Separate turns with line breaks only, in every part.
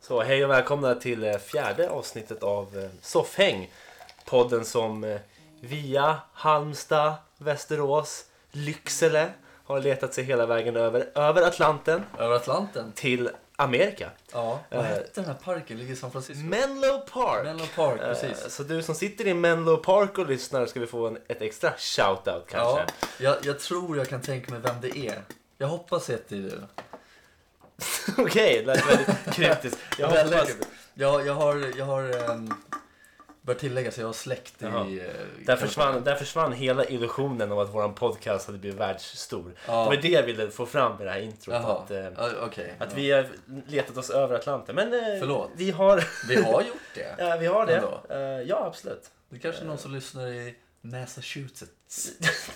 Så hej och välkomna till eh, fjärde avsnittet av eh, Soffhäng. Podden som eh, via Halmstad, Västerås, Lycksele har letat sig hela vägen över, över Atlanten
Över Atlanten?
till Amerika.
Ja. Vad
Eh.
hette den här parken? Ligger i San Francisco?
Menlo Park!
Menlo Park,
Eh,
precis.
Så du som sitter i Menlo Park och lyssnar ska vi få en, ett extra shout-out kanske.
Ja, jag, jag tror jag kan tänka mig vem det är. Jag hoppas att det är du.
Okej, det lät väldigt kryptiskt. Jag
Väldigt
hoppas...
kul. jag, jag har, jag har um, bör tilläggas, jag har släkt i...
Jaha.
eh,
Där
Kalifornien.
försvann, där försvann hela illusionen om att vår podcast hade blivit världsstor.
Ja.
Det var det jag ville få fram med det här introt.
Jaha,
Att, eh,
Ja, okej.
att
Ja.
vi har letat oss över Atlanten. Men eh,
Förlåt.
vi har,
vi har gjort det.
ja, vi har det.
Ändå.
Eh, ja, absolut.
Det kanske är någon som lyssnar i Massachusetts.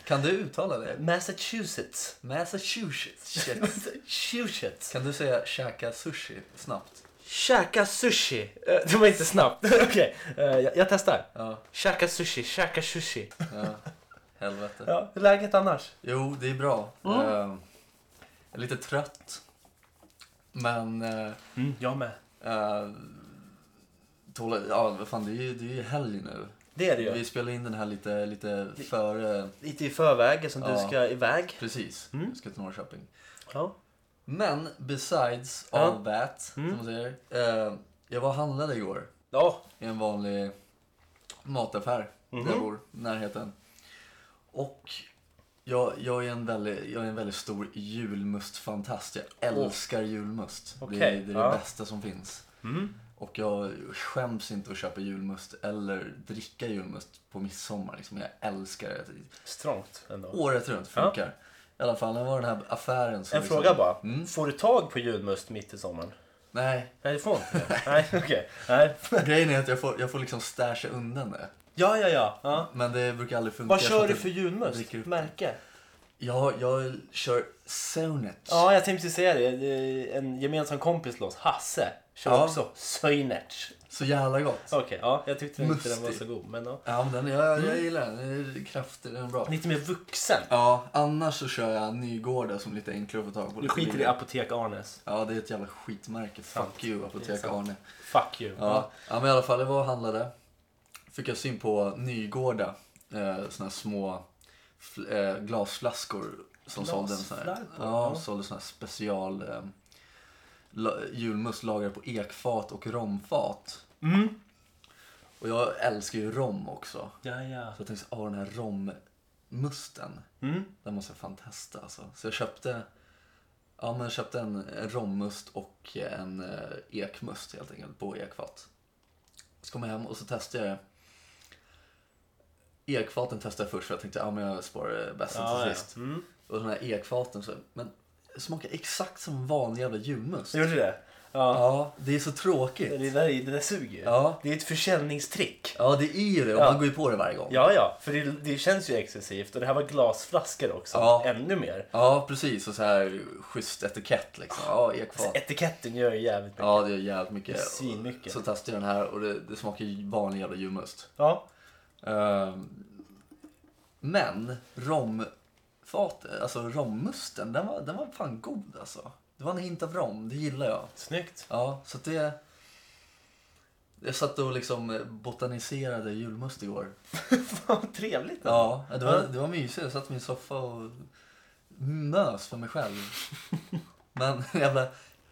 Kan du uttala det?
Massachusetts.
Massachusetts.
Massachusetts.
Kan du säga käka sushi snabbt?
Käka sushi. Eh, det var inte snabbt. Okej, eh, jag, jag testar.
Ja,
Käka sushi, käka sushi.
ja. helvete.
Ja, hur är läget annars?
Jo, det är bra.
Mm.
Eh, jag är lite trött. Men... eh,
Mm, jag med.
eh, tåla, ja, vad fan, det är ju, det är ju helg nu.
Det är det ju.
Vi spelar in den här lite, lite före...
Lite i förväg som du
Ja.
ska iväg.
Precis,
Mm.
jag ska till Norrköping.
Ja.
Men besides
Ja. Mm.
all that, som man säger. eh, jag var och handlade igår
ja.
i en vanlig mataffär där
Mhm.
jag bor, i närheten. Och jag, jag, är en väldigt, jag är en väldigt stor julmustfantast. Jag älskar julmust.
Okej,
Det, är- det är det
ja.
bästa som finns.
Mm.
Och jag skäms inte att köpa julmust eller dricka julmust på midsommar. Liksom. Jag älskar det.
Strångt ändå.
Året runt funkar. I alla fall, det var den här affären som...
en
liksom-
fråga bara.
Mm.
Får du tag på julmust mitt i sommaren?
Nej,
Nej, du får inte det. Nej, okej. Nej.
grejen är att jag får, jag får liksom stasha undan det.
Ja, ja, ja. ja.
Men det brukar aldrig funka.
Vad
så
kör
att
du
det-
för julmust?
dricker upp.
Märke?
Jag, jag kör Sonet.
Ja, jag tänkte säga det. Det är En gemensam kompis till oss, Hasse, kör
Ja.
också Söjnerts.
Så jävla gott.
Okej, ja. Jag tyckte inte den var
Mustig.
så god. Men ja.
Ja, men den, jag,
Mm.
jag gillar den. Den är kraftig, den är bra.
Lite mer vuxen.
Ja, annars så kör jag Nygårda som är lite enklare att få tag på.
Du skiter i Apotek Arnes.
Ja, det är ett jävla skitmärke. Fuck you,
Det är
Apotek
sant.
Arne.
Fuck you.
Ja. ja, men i alla fall, det var och handlade. Fick jag syn på Nygårda. Eh, såna här små fl- eh, glasflaskor som sålde en sån här,
Glasflaskor, ja.
ja, sålde sån här special eh, la, julmust lagrad på ekfat och romfat.
Mm.
Och jag älskar ju rom också.
Ja, ja.
Så jag tänkte, åh den här rommusten,
Mm.
den måste jag fan testa alltså. Så jag köpte, ja men jag köpte en, en rommust och en eh, ekmust helt enkelt på ekfat. Så kom jag hem och så testade jag Ekfaten testade jag först för jag tänkte, ja men jag sparar det bästa
Ja,
till
ja.
sist.
Mm.
Och den här ekfaten, så, men det smakar exakt som vanlig jävla julmust.
Så gjorde du det? Ja.
Ja, det är så tråkigt.
Det, där, det där suger ju.
Ja.
Det är ett försäljningstrick.
Ja, det är ju det. Och
Ja.
man går ju på det varje gång.
Ja, ja, för det, det känns ju excessivt och det här var glasflaskor också.
Ja.
Ännu mer.
Ja, precis. Och så här schysst etikett liksom. Ja,
Så
ekfat.
Alltså, etiketten gör ju jävligt mycket.
Ja, det är jävligt mycket.
Ah, Det är svinmycket.
Så testade jag den här och det, det smakar ju vanlig jävla julmust.
Ja.
Ehm, men romfat, alltså rommusten, den var, den var fan god alltså. Det var en hint av rom, det gillar jag.
Snyggt.
Ja, så att det... Jag satt och liksom botaniserade julmust igår.
Fan vad trevligt.
Ja, det var,
Ja.
det var mysigt. Jag satt i min soffa och mös för mig själv. Men jävla,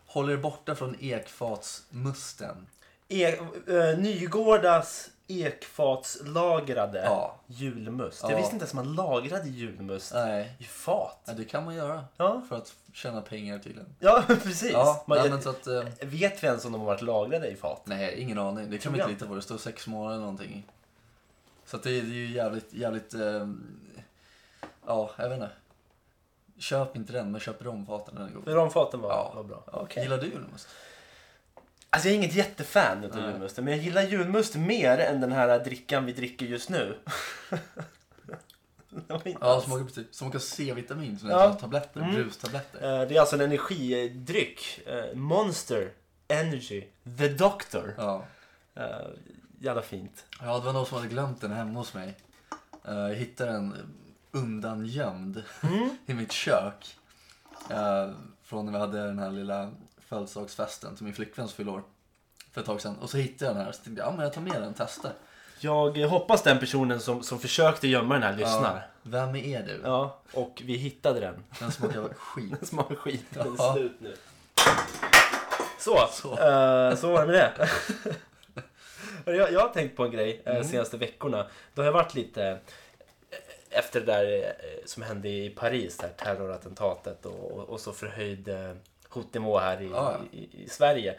håll er borta från ekfatsmusten.
E, eh, Nygårdas ekfatslagrade
Ja.
julmust. Jag
Ja.
visste inte ens man lagrade julmust
Nej.
i fat.
Ja, det kan man göra.
Ja,
För att tjäna pengar tydligen.
ja precis.
Ja,
man,
nej, men så att... eh,
Vet vi ens om de har varit lagrade i fat?
Nej, ingen aning. Det kan man
Program.
inte lita på. Det står sex månader eller någonting. Så att det, är- det är ju jävligt, jävligt... eh, Ja, jag vet inte. Köp inte den, men köp romfaten. Den är god.
Men romfaten var,
Ja.
var bra. Okej.
Gillar du julmust?
Alltså jag är inget jättefan utav
Nej.
julmusten, men jag gillar julmust mer än den här drickan vi dricker just nu. Det var inte
Ja,
alls.
smakar precis. Smakar C-vitamin som
Ja.
är som tabletter,
Mm.
brustabletter.
Eh, Det är alltså en energidryck. eh, Monster Energy The Doctor.
Ja.
Eh, Jävla fint.
ja, det var någon som hade glömt den hemma hos mig. Eh, Jag hittade den undangömd
Mm.
i mitt kök. Eh, Från när vi hade den här lilla födelsedagsfesten till min flickväns fyllår. för ett tag sedan. Och så hittade jag den här så tänkte jag, ja men jag tar med den, testa.
Jag eh, hoppas den personen som, som försökte gömma den här lyssnar.
Vem är du?
Ja. Och vi hittade den.
Den smakar skit.
Den smakar skit. Den
Ja.
slut nu. Så,
Så.
så. så var det med det. jag, jag har tänkt på en grej
Mm.
eh, senaste veckorna. Då har jag varit lite eh, efter det där eh, som hände i Paris, det här terrorattentatet och, och, och så förhöjd eh, hotnivå här i,
Ah, Ja, Mm. ja.
i, i Sverige.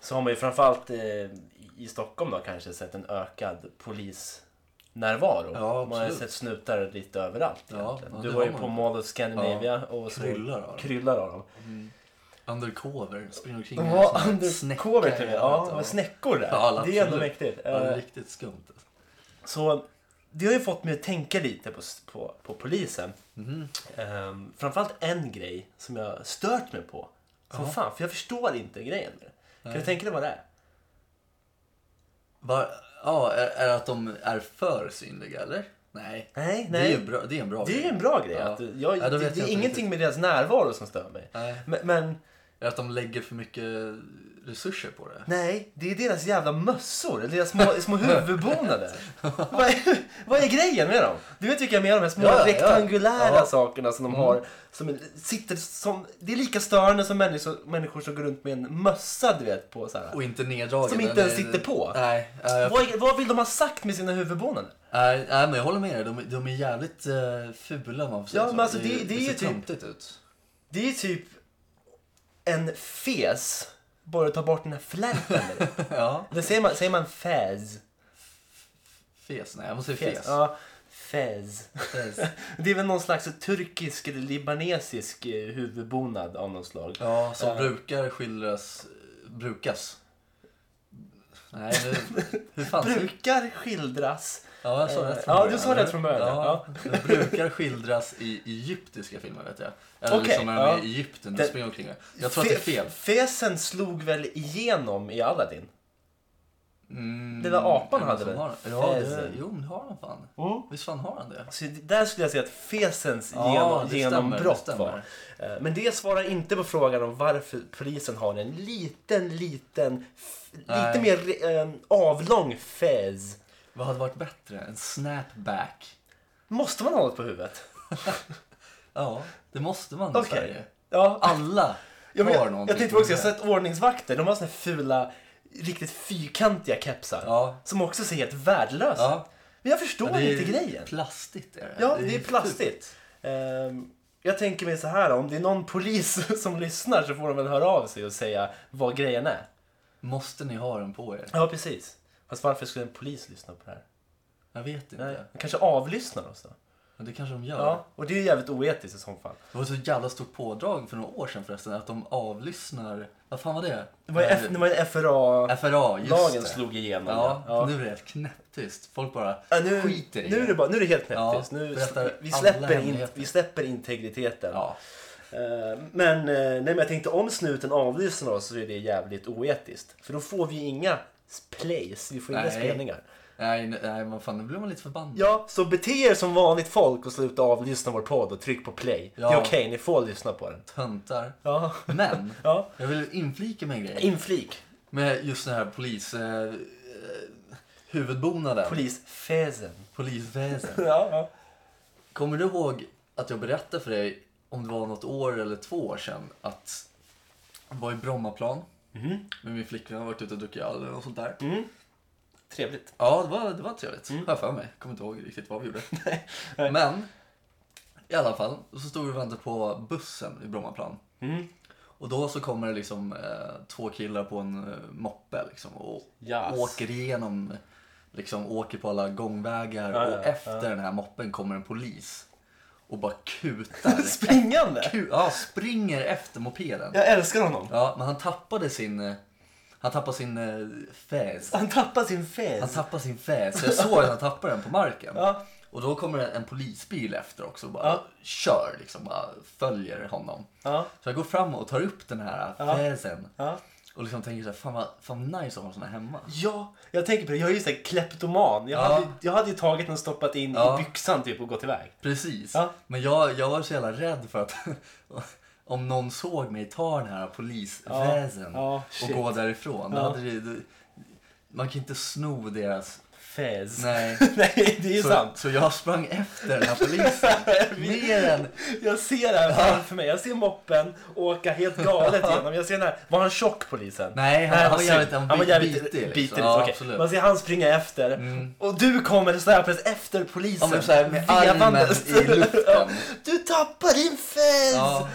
Så har man ju framförallt eh, i- i Stockholm då kanske sett en ökad polisnärvaro.
Ja,
man har ju
absolut.
sett snutar lite överallt
Ja,
egentligen.
ja,
du
det
var
har
ju
man
på
ju.
Mall of Scandinavia och så
Kryllar av dem.
Alltså, kryllar av dem.
Undercover, springer omkring
De
med
har
sån här
undercover
snäcka
till och
i
med.
örat,
Ja, och snäckor där.
Ja,
det är ändå
absolut.
mäktigt.
Ja, det
Eh,
är riktigt skumt. alltså.
Så det har ju fått mig att tänka lite på, på, på polisen. Ehm, framförallt en grej som jag stört mig på. Som fan, för jag förstår inte grejen med det. Kan du tänka dig vad det är?
Va, ja, är, är det att de är för synliga eller? Nej.
Nej,
Det, är
nej.
ju bra, det är en bra
Det är ju en bra grej.
Ja.
Att jag,
Ja, då
det,
vet
det
jag
är
inte
ingenting med deras närvaro som stör mig.
Nej.
Men, men
Är det att de lägger för mycket resurser på det?
nej, det är deras jävla mössor. eller Deras små, små huvudbonader. vad, är, vad är grejen med dem? Du vet vilka jag menar? De här små
Ja, ja, ja.
rektangulära
Ja. Mm.
sakerna som de har. Som sitter som, det är lika störande som människor, människor som går runt med en mössa, du vet. På så här.
Och inte neddragen.
Som inte
den
ens
är-
sitter på.
Nej, ja, jag,
Vad, är- vad vill de ha sagt med sina huvudbonader?
nej, nej, men jag håller med dig. De, de är jävligt eh, fula om man får säga
Ja,
så.
men alltså, det- det är
ser
ju typ-
töntigt ut.
Det är ju typ en fes. Bara ta bort den här flärpen. eller?
ja,
Eller säger man, säger man fez?
fes. Nej, jag måste säga
Fes.
fes.
Ja, fez.
Fes.
Det är väl någon slags turkisk eller libanesisk eh, huvudbonad av något slag.
Ja, som
Eh.
brukar skildras... Brukas. Nej, nu, hur fan...
Brukar skildras.
Ja, jag sa
Eh,
rätt
ja, du sa rätt från början,
Ja, det brukar skildras i egyptiska filmer, vet jag. Eller
Okej,
som när de är
ja.
i Egypten och
Det-
springer omkring. där. Jag tror att det är fel.
Fe- Fesen slog väl igenom i Aladdin?
Mm,
Den där apan
är det
hade det?
någon som har den? Ja, det,
Fäsen.
jo, men det har han fan. Visst fan har han det?
Så Alltså, där skulle jag säga att fesens
Mm. Ja,
genom,
det stämmer,
genombrott
det stämmer.
var. Eh, Men det svarar inte på frågan om varför polisen har en liten, liten, f-
Nej.
lite mer re- eh, avlång fez.
Vad hade varit bättre? En snapback.
Måste man ha något på huvudet?
Ja, det måste man i
Okej.
Sverige.
Ja,
Alla
Ja, men
har
jag, jag
någonting
tänkte
på
också, jag har
huvudet.
sett ordningsvakter, de har såna här fula, riktigt fyrkantiga kepsar.
Ja.
Som också ser helt värdelösa ut.
Ja,
Men jag förstår
men det är
inte grejen.
Plastigt är det. typ
Ja,
ju
det är
fult.
plastigt. Ehm, jag tänker mig så här, om det är någon polis som lyssnar så får de väl höra av sig och säga vad grejen är.
Måste ni ha den på er?
Ja, precis. Fast varför skulle en polis lyssna på det här?
Jag vet inte.
Nej. De kanske avlyssnar oss då?
Men det kanske de gör.
Ja. Och det är ju jävligt oetiskt i så fall.
Det var så jävla stort pådrag för några år sedan förresten att de avlyssnar... Vad fan var det?
Det var ju F- det var ju FRA...
FRA, just
Lagen
det.
slog igenom.
Ja,
Ja. Ja.
nu är det helt knäpptyst. Folk bara
Ja, nu,
skiter i
nu, är det bara, nu är det helt
Ja,
knäpptyst. nu,
berättar
vi,
alla
släpper in,
hemligheter.
vi släpper integriteten.
Ja,
Eh, Men, eh, nej, men jag tänkte om snuten avlyssnar oss så är det jävligt oetiskt. För då får vi inga plays, vi får inga
Nej.
spelningar.
nej, nej, vad fan, nu blir man lite förbannad.
Ja, så bete er som vanligt folk och sluta avlyssna vår podd och tryck på play. Det är
Ja.
okej, ni får lyssna på den.
Töntar.
Ja.
Men,
Ja.
jag vill inflika med en grej.
Inflik.
Med just den här polis... Eh, huvudbonaden.
Polisfäsen.
Polisväsen.
Ja, ja.
Kommer du ihåg att jag berättade för dig, om det var något år eller två år sedan, att jag var i Brommaplan
Mm.
med min flickvän och varit ute och druckit öl eller något sånt där.
Trevligt.
Ja, det var, det var trevligt.
Mm.
Har jag för mig. Kommer inte ihåg riktigt vad vi gjorde. Men, i alla fall, så stod vi och väntade på bussen i Brommaplan.
Mm.
Och då så kommer det liksom eh, två killar på en eh, moppe liksom, och
Jas.
åker igenom, liksom åker på alla gångvägar
Ja, ja,
och efter den här moppen kommer en polis och bara kutar.
Springande!
Ku- ja, springer efter mopeden.
Jag älskar honom.
Ja, men han tappade sin, eh, han tappade sin eh, fäs.
Han tappar sin fäs.
Han tappar sin fäs. Jag såg att han tappade den på marken.
Ja.
Och då kommer en, en polisbil efter också och bara
Ja.
kör liksom, bara följer honom.
Ja.
Så jag går fram och tar upp den här fäsen
Ja.
och liksom tänker så här, fan vad fan vad nice att ha en sån här hemma.
Ja, jag tänker på det. Jag är ju såhär kleptoman. Jag,
Ja.
hade, jag hade ju tagit den och stoppat in
Ja.
i byxan typ och gått iväg.
Precis.
Ja.
Men jag, jag var så jävla rädd för att om någon såg mig ta den här polisväsen
Ja, ja,
och
shit.
gå därifrån. Då
Ja.
hade det, det, man kan inte sno deras...
Fez. Nej,
Nej.
det är ju
Så,
sant.
så jag sprang efter den här polisen. Mer än...
Jag ser det här framför mig. Jag ser moppen åka helt galet igenom. Jag ser den här. Var han tjock polisen?
Nej, han, han var
sur.
jävligt, han
han var
bit-
jävligt
bitig. Liksom.
bitig,
ja,
okej.
absolut. Mm.
Man ser han springa efter och du kommer släpandes efter polisen.
Ja, men så här med
vevandes.
armen i luften.
Ja. du tappar din fez!
Ja,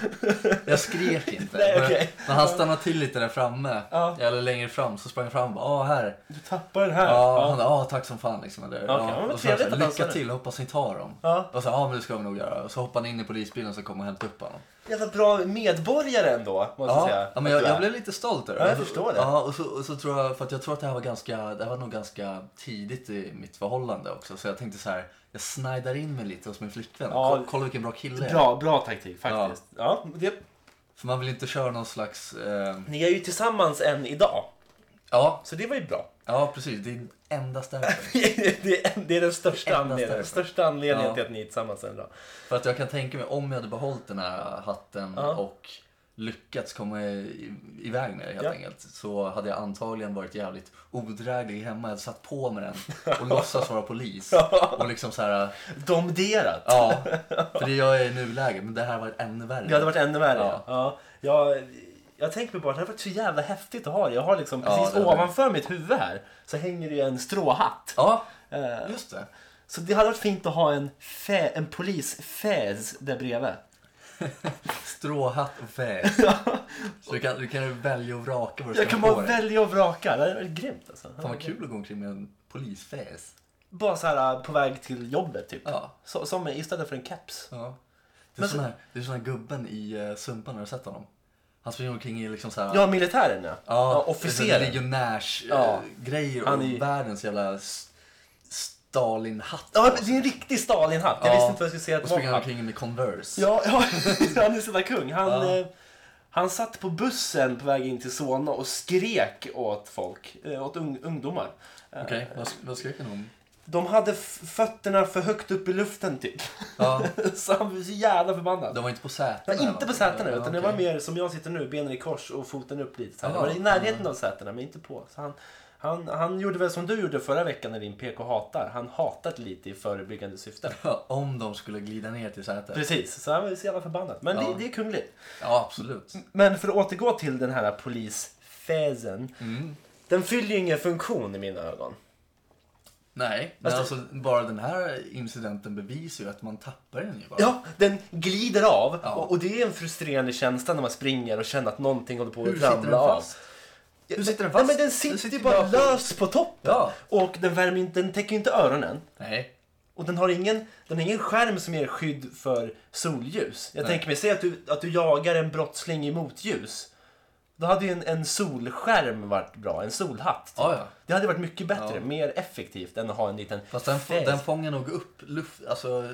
jag skrek inte.
Nej,
Men-
okej.
Men han stannade till lite där framme.
Ja.
Eller längre fram. Så sprang jag fram och bara, ah, här.
Du tappar den här.
Ja,
Ja.
han bara, ah, tack som fan liksom. Eller,
Okej, men
ja.
vad
Och så var jag så här,
trevligt att han sa
Lycka
det.
till, hoppas ni tar dem.
Ja.
Och så, ja ah, men det ska vi nog göra. Och så hoppade han in i polisbilen som kom och hämtade upp honom.
Jävla bra medborgare ändå, måste jag säga.
Ja, men jag,
att du är.
jag blev lite stolt över
Ja, jag
Och så-
förstår det.
Ja, och så, och så tror jag, för att jag tror att det här var ganska, det här var nog ganska tidigt i mitt förhållande också. Så jag tänkte så här, jag snajdar in mig lite hos min flickvän.
Ja.
Ko- Kolla vilken bra kille jag är.
Bra, bra taktik faktiskt. Ja. det,
För man vill inte köra någon slags, eh,
ni är ju tillsammans än idag,
ja,
så det var ju bra.
ja precis, det är endast därför.
det, är, det är den största
Endast
anledningen,
därför.
största anledningen
Ja.
till att ni är tillsammans än idag.
För att jag kan tänka mig, om jag hade behållit den här hatten
Ja.
och lyckats komma i- iväg med det helt
Ja.
enkelt. Så hade jag antagligen varit jävligt odräglig hemma. Jag hade satt på mig den och låtsas vara polis. Och liksom så här,
Domderat!
Ja, för det gör jag i nuläget. Men det här var ännu värre.
Det hade varit ännu värre. Ja.
Ja.
Ja. Jag, jag tänker bara att det hade varit så jävla häftigt att ha det. Jag har liksom
Ja,
precis
det hade-
ovanför mitt huvud här så hänger det ju en stråhatt.
Ja,
Eh,
just det.
Så det hade varit fint att ha en, fä, en polisfäs där bredvid.
Stråhatt och väs. Så du kan, du kan välja och vraka vad du
Jag
ska
kan
ha
bara
på dig.
välja och vraka. Det hade varit grymt alltså.
Fan vad kul att gå omkring med en polisfäs.
Bara så här eh, på väg till jobbet typ.
Ja.
Så, som istället för en keps.
ja. Det är
Men
sån här, det är sån här gubben i uh, Sumpan, har du sett honom? Han springer omkring i liksom så här...
Ja, militären ja. ja officeren. Ja.
Legionärsgrejer
Han
och
är-
världens jävla s- Stalinhatt.
Ja, det är en riktig Stalinhatt. Jag
Ja.
visste inte vad jag skulle säga att
Och
det var.
springer omkring med Converse.
Ja, ja han är sådär kung. Han,
Ja.
eh, han satt på bussen på väg in till Solna och skrek åt folk, eh, åt ung, ungdomar. Eh,
Okej, vad, vad skrek han om?
De hade f- fötterna för högt upp i luften typ.
Ja,
så han blev så jävla förbannad.
de var inte på sätena?
Nej, inte
va?
på sätena utan det var
okej.
mer som jag sitter nu, benen i kors och foten upp lite. Så här. Det
Ja.
var i
Mm.
närheten av sätena men inte på. Så han, han, han gjorde väl som du gjorde förra veckan när din PK hatar. Han hatat lite i förebyggande syfte.
Ja, Om de skulle glida ner till sätet.
Precis, så han var så jävla förbannad. Men
Ja.
det, det är kungligt.
Ja, absolut.
Men för att återgå till den här polisfäsen.
Mm.
Den fyller ju ingen funktion i mina ögon.
Nej, men alltså, bara den här incidenten bevisar ju att man tappar den ju bara.
Ja, den glider av
Ja.
och, och det är en frustrerande känsla när man springer och känner att någonting håller på
Hur
att
sitter den
ramla av.
fast? Hur sitter den
Nej,
fast?
men den sitter, ju bara
på-
löst på toppen
Ja.
och den, värmer, inte- den täcker ju inte öronen.
Nej.
Och den har ingen, den har ingen skärm som ger skydd för solljus. Jag
Nej.
tänker mig, säg att du, att du jagar en brottsling i motljus. Då hade ju en, en solskärm varit bra, en solhatt. typ.
Ja, ja.
Det hade varit mycket bättre,
Ja.
mer effektivt än att ha en liten
Fast den, få-
fäs.
den fångar nog upp luft, alltså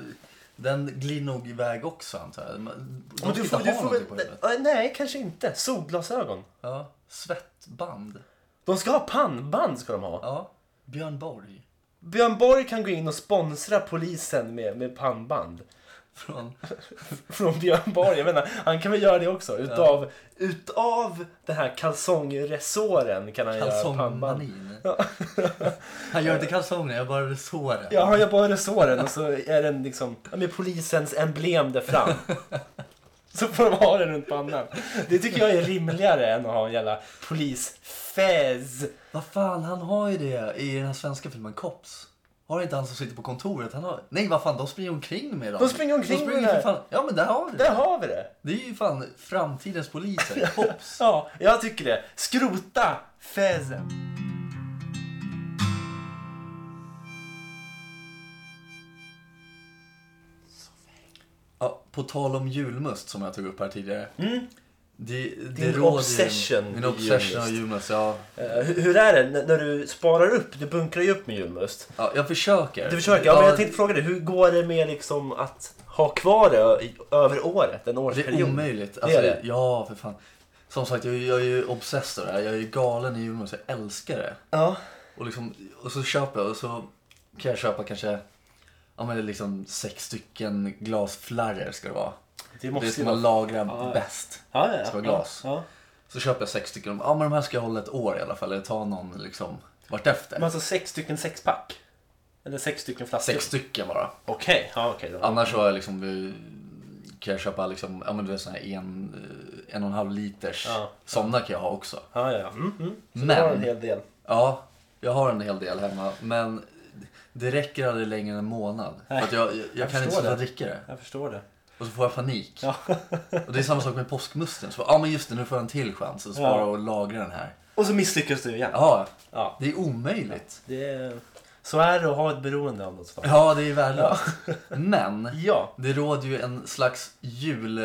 den glider nog iväg också antar jag. De
Men
ska
du
inte
får,
ha
du får
någonting på
väl,
huvudet.
nej, nej, kanske inte. Solglasögon.
Ja. Svettband.
De ska ha pannband ska de ha.
Ja. Björn Borg.
Björn Borg kan gå in och sponsra polisen med, med pannband.
Från...
Från Björn Borg. Jag menar, han kan väl göra det också. Utav, utav den här kalsongresåren kan han göra pannband.
Kalsongmanin. Han gör inte kalsonger, jag bara såren.
Ja, han gör bara resåren och så är den liksom ja, med polisens emblem där fram. Så får de ha den runt pannan. Det tycker jag är rimligare än att ha en jävla polisfäs.
Vad fan, han har ju det i den här svenska filmen Cops. Har inte han som sitter på kontoret? Han har... Nej, vad fan, de springer omkring med dem.
De springer omkring
de
med
springer
den
för
här.
fan... Ja, men där har vi
Där
det.
har vi det!
Det är ju fan framtidens poliser. Cops.
Ja, jag tycker det. Skrota fäsen.
Ja, på tal om julmust som jag tog upp här tidigare. Det, det
Mm. Din
råder ju-
obsession
Min
med
obsession
julmust.
av julmust, ja.
Eh, hur, hur är det n- när du sparar upp? Du bunkrar ju upp med julmust.
ja. Jag försöker.
Du försöker, ja, men jag tänkte fråga dig, hur går det med liksom att ha kvar det i, över året, en
Det
årsperiod?
är omöjligt.
Det är
Alltså,
det.
Ja, för fan. Som sagt, jag, jag är ju obsessed av det här. Jag är ju galen i julmust. Jag älskar det.
Ja.
Och, liksom, och så köper jag och så kan jag köpa kanske ja, men liksom sex stycken glasflarror ska det vara.
Det
Det
måste
ska
ju vara...
man lagra
Ja.
bäst.
Ja, ja, ja.
ska vara glas.
Ja, ja.
Så köper jag sex stycken. Ja, men de här ska jag hålla ett år i alla fall. Eller ta någon liksom vartefter.
Men alltså sex stycken sexpack? Eller sex stycken flaskor?
Sex stycken bara.
Okej, ja okej då.
Annars så har jag liksom, eh, kan jag köpa liksom, ja men du vet sån här en, eh, en och en halv liters.
Ja.
Sådana kan jag ha också.
Ja, ja, ja. Mm, mm. Så
Men-
du har en hel del.
Ja, jag har en hel del hemma. Men det räcker aldrig längre än en månad. För
Nej,
att jag, jag, jag,
jag
kan inte
förstår
sluta
det.
dricka det.
Jag förstår det.
Och så får jag panik.
Ja.
Och det är samma sak med påskmusten. Så, ja men just det, nu får jag en till chans att spara
Ja.
och lagra den här.
Och så misslyckas du igen.
Ja,
Ja.
det är omöjligt.
Det är... Så är det att ha ett beroende av något slag.
Ja, det är värdelöst. Men
Ja.
det råder ju en slags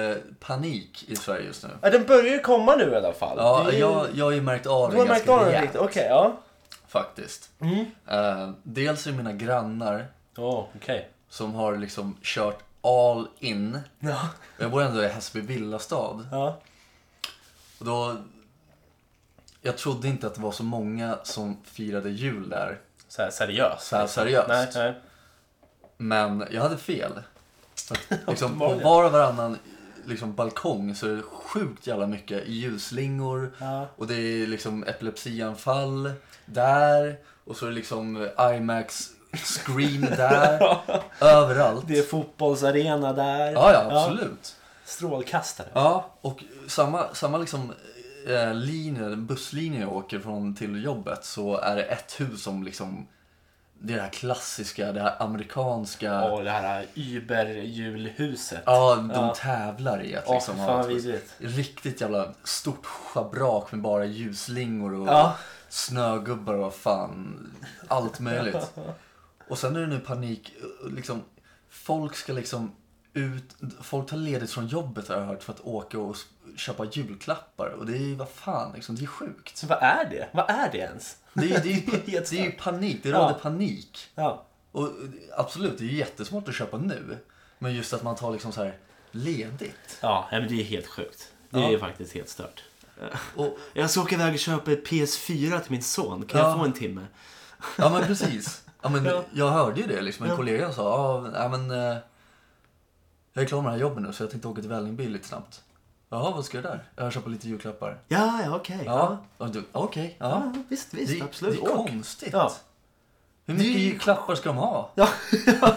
julpanik i Sverige just nu.
ja. Den börjar ju komma nu i alla fall.
Ja,
Det är ju-
jag, jag har ju märkt av
Du
det
har märkt
ganska
av den
rejält
lite? Okej, ja.
faktiskt.
Mm.
Eh, dels är det mina grannar
Ja, okej.
som har liksom kört all in.
Ja.
Jag bor ändå i Hässelby villastad.
Ja.
Och då, jag trodde inte att det var så många som firade jul där
Så här seriöst. liksom.
så här seriöst.
Nej, nej.
Men jag hade fel. För att, liksom, på
Uppenbarligen.
var och varannan liksom, balkong så är det sjukt jävla mycket ljusslingor.
Ja.
Och det är liksom epilepsianfall där. Och så är det liksom IMAX screen där. överallt.
Det är fotbollsarena där.
Ja, ja, absolut.
Strålkastare.
Ja, och samma, samma liksom eh, linje, busslinje jag åker från till jobbet så är det ett hus som liksom det är det här klassiska, det här amerikanska.
Och det här Uber-julhuset.
Ja, de
Ja.
tävlar i att
Åh,
liksom
fan
ha
vad
ett
vidrigt.
riktigt jävla stort schabrak med bara ljusslingor och
Ja.
snögubbar och fan allt möjligt. Och sen är det nu panik, liksom folk ska liksom ut, folk tar ledigt från jobbet har jag hört för att åka och s- köpa julklappar och det är ju vad fan liksom, det är sjukt.
Så vad är det? Vad är det ens?
Det är, det är, ju-
Det är helt
det är ju
stört.
panik, det
Ja.
råder panik.
Ja.
Och absolut, det är ju jättesmart att köpa nu. Men just att man tar liksom så här ledigt.
Ja, nej, men det är helt sjukt. Det
Ja.
är ju faktiskt helt stört.
Och,
Jag ska åka iväg och köpa ett PS4 till min son. Kan
Ja.
jag få en timme?
ja men precis. Ja, men,
Ja.
Jag hörde ju det liksom. En kollega sa, ja nej, men eh, jag är klar med det här jobbet nu så jag tänkte åka till Vällingby lite snabbt. Jaha, vad ska du där? Jag köper lite julklappar.
Ja, ja, okej. Ja.
Ja, och du, okej. ja.
ja, visst, visst.
Det,
absolut.
det är
Åk.
konstigt.
Ja.
Hur mycket
Det är ju-
julklappar ska de ha?
Ja.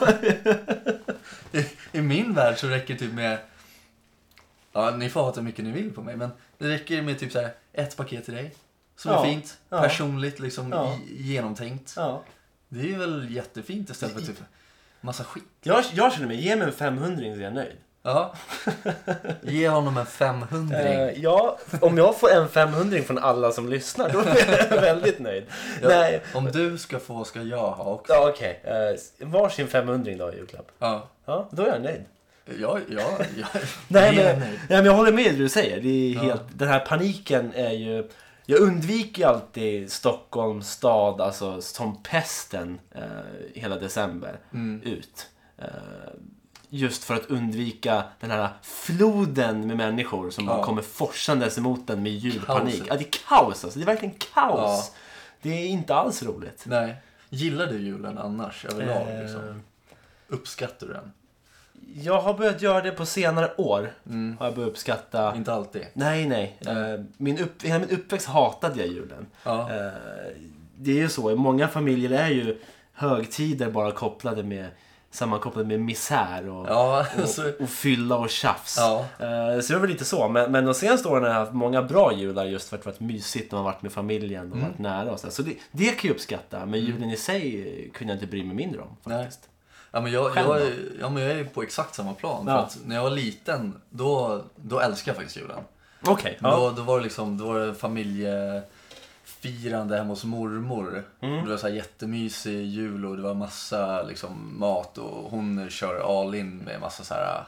I, I min värld så räcker det typ med... Ja, ni får hata hur mycket ni vill på mig, men det räcker med typ så här ett paket till dig. Som
Ja.
är fint,
Ja.
personligt, liksom
Ja.
i- genomtänkt.
Ja.
Det är ju väl jättefint istället för typ massa skit.
Jag, jag känner mig, ge mig en 500 så är jag nöjd.
Ja. Ge honom en 500
Eh, ja, om jag får en 500 från alla som lyssnar då är jag väldigt nöjd. Nej,
Om du ska få ska jag ha också.
ja, okej. Okay. Varsin 500 då i julklapp.
Ja.
Ja, då är jag nöjd.
Ja, ja, ja.
Nej
Ge
men,
mig.
nej, men jag håller med i det du säger. Det är
Ja.
helt, Den här paniken är ju... Jag undviker ju alltid Stockholms stad alltså, som pesten eh, hela december
Mm.
ut. Eh, just för att undvika den här floden med människor som bara
Ja.
kommer forsandes emot den med julpanik.
Kaoset.
Ja, det är kaos alltså. Det är verkligen kaos. Det är inte alls roligt.
Nej. Gillar du julen annars överlag?
Eh,
Liksom? Uppskattar du den?
Jag har börjat göra det på senare år.
Mm.
Har jag börjat uppskatta.
Inte alltid.
Nej, nej. Eh, Min upp, hela min uppväxt hatade jag julen.
Ja.
Eh, Det är ju så. I många familjer är ju högtider bara kopplade med sammankopplade med misär och,
Ja, alltså, så,
och, och fylla och tjafs.
ja.
Eh, Så det var lite så. Men, men de senaste åren har jag haft många bra jular just för att det varit mysigt när man varit med familjen
Mm.
och varit nära och så. Så det, det kan jag uppskatta. Men julen i sig kunde jag inte bry mig mindre om faktiskt.
Ja, men jag,
Själv
jag,
då?
är- ja, men jag är på exakt samma plan.
Ja.
För att när jag var liten, då, då älskade jag faktiskt julen.
Okej.
Men
ja.
Då, då var det liksom, då var det familjefirande hemma hos mormor.
Mm.
Det var så här jättemysig jul och det var massa liksom, mat och hon kör all in med massa så här.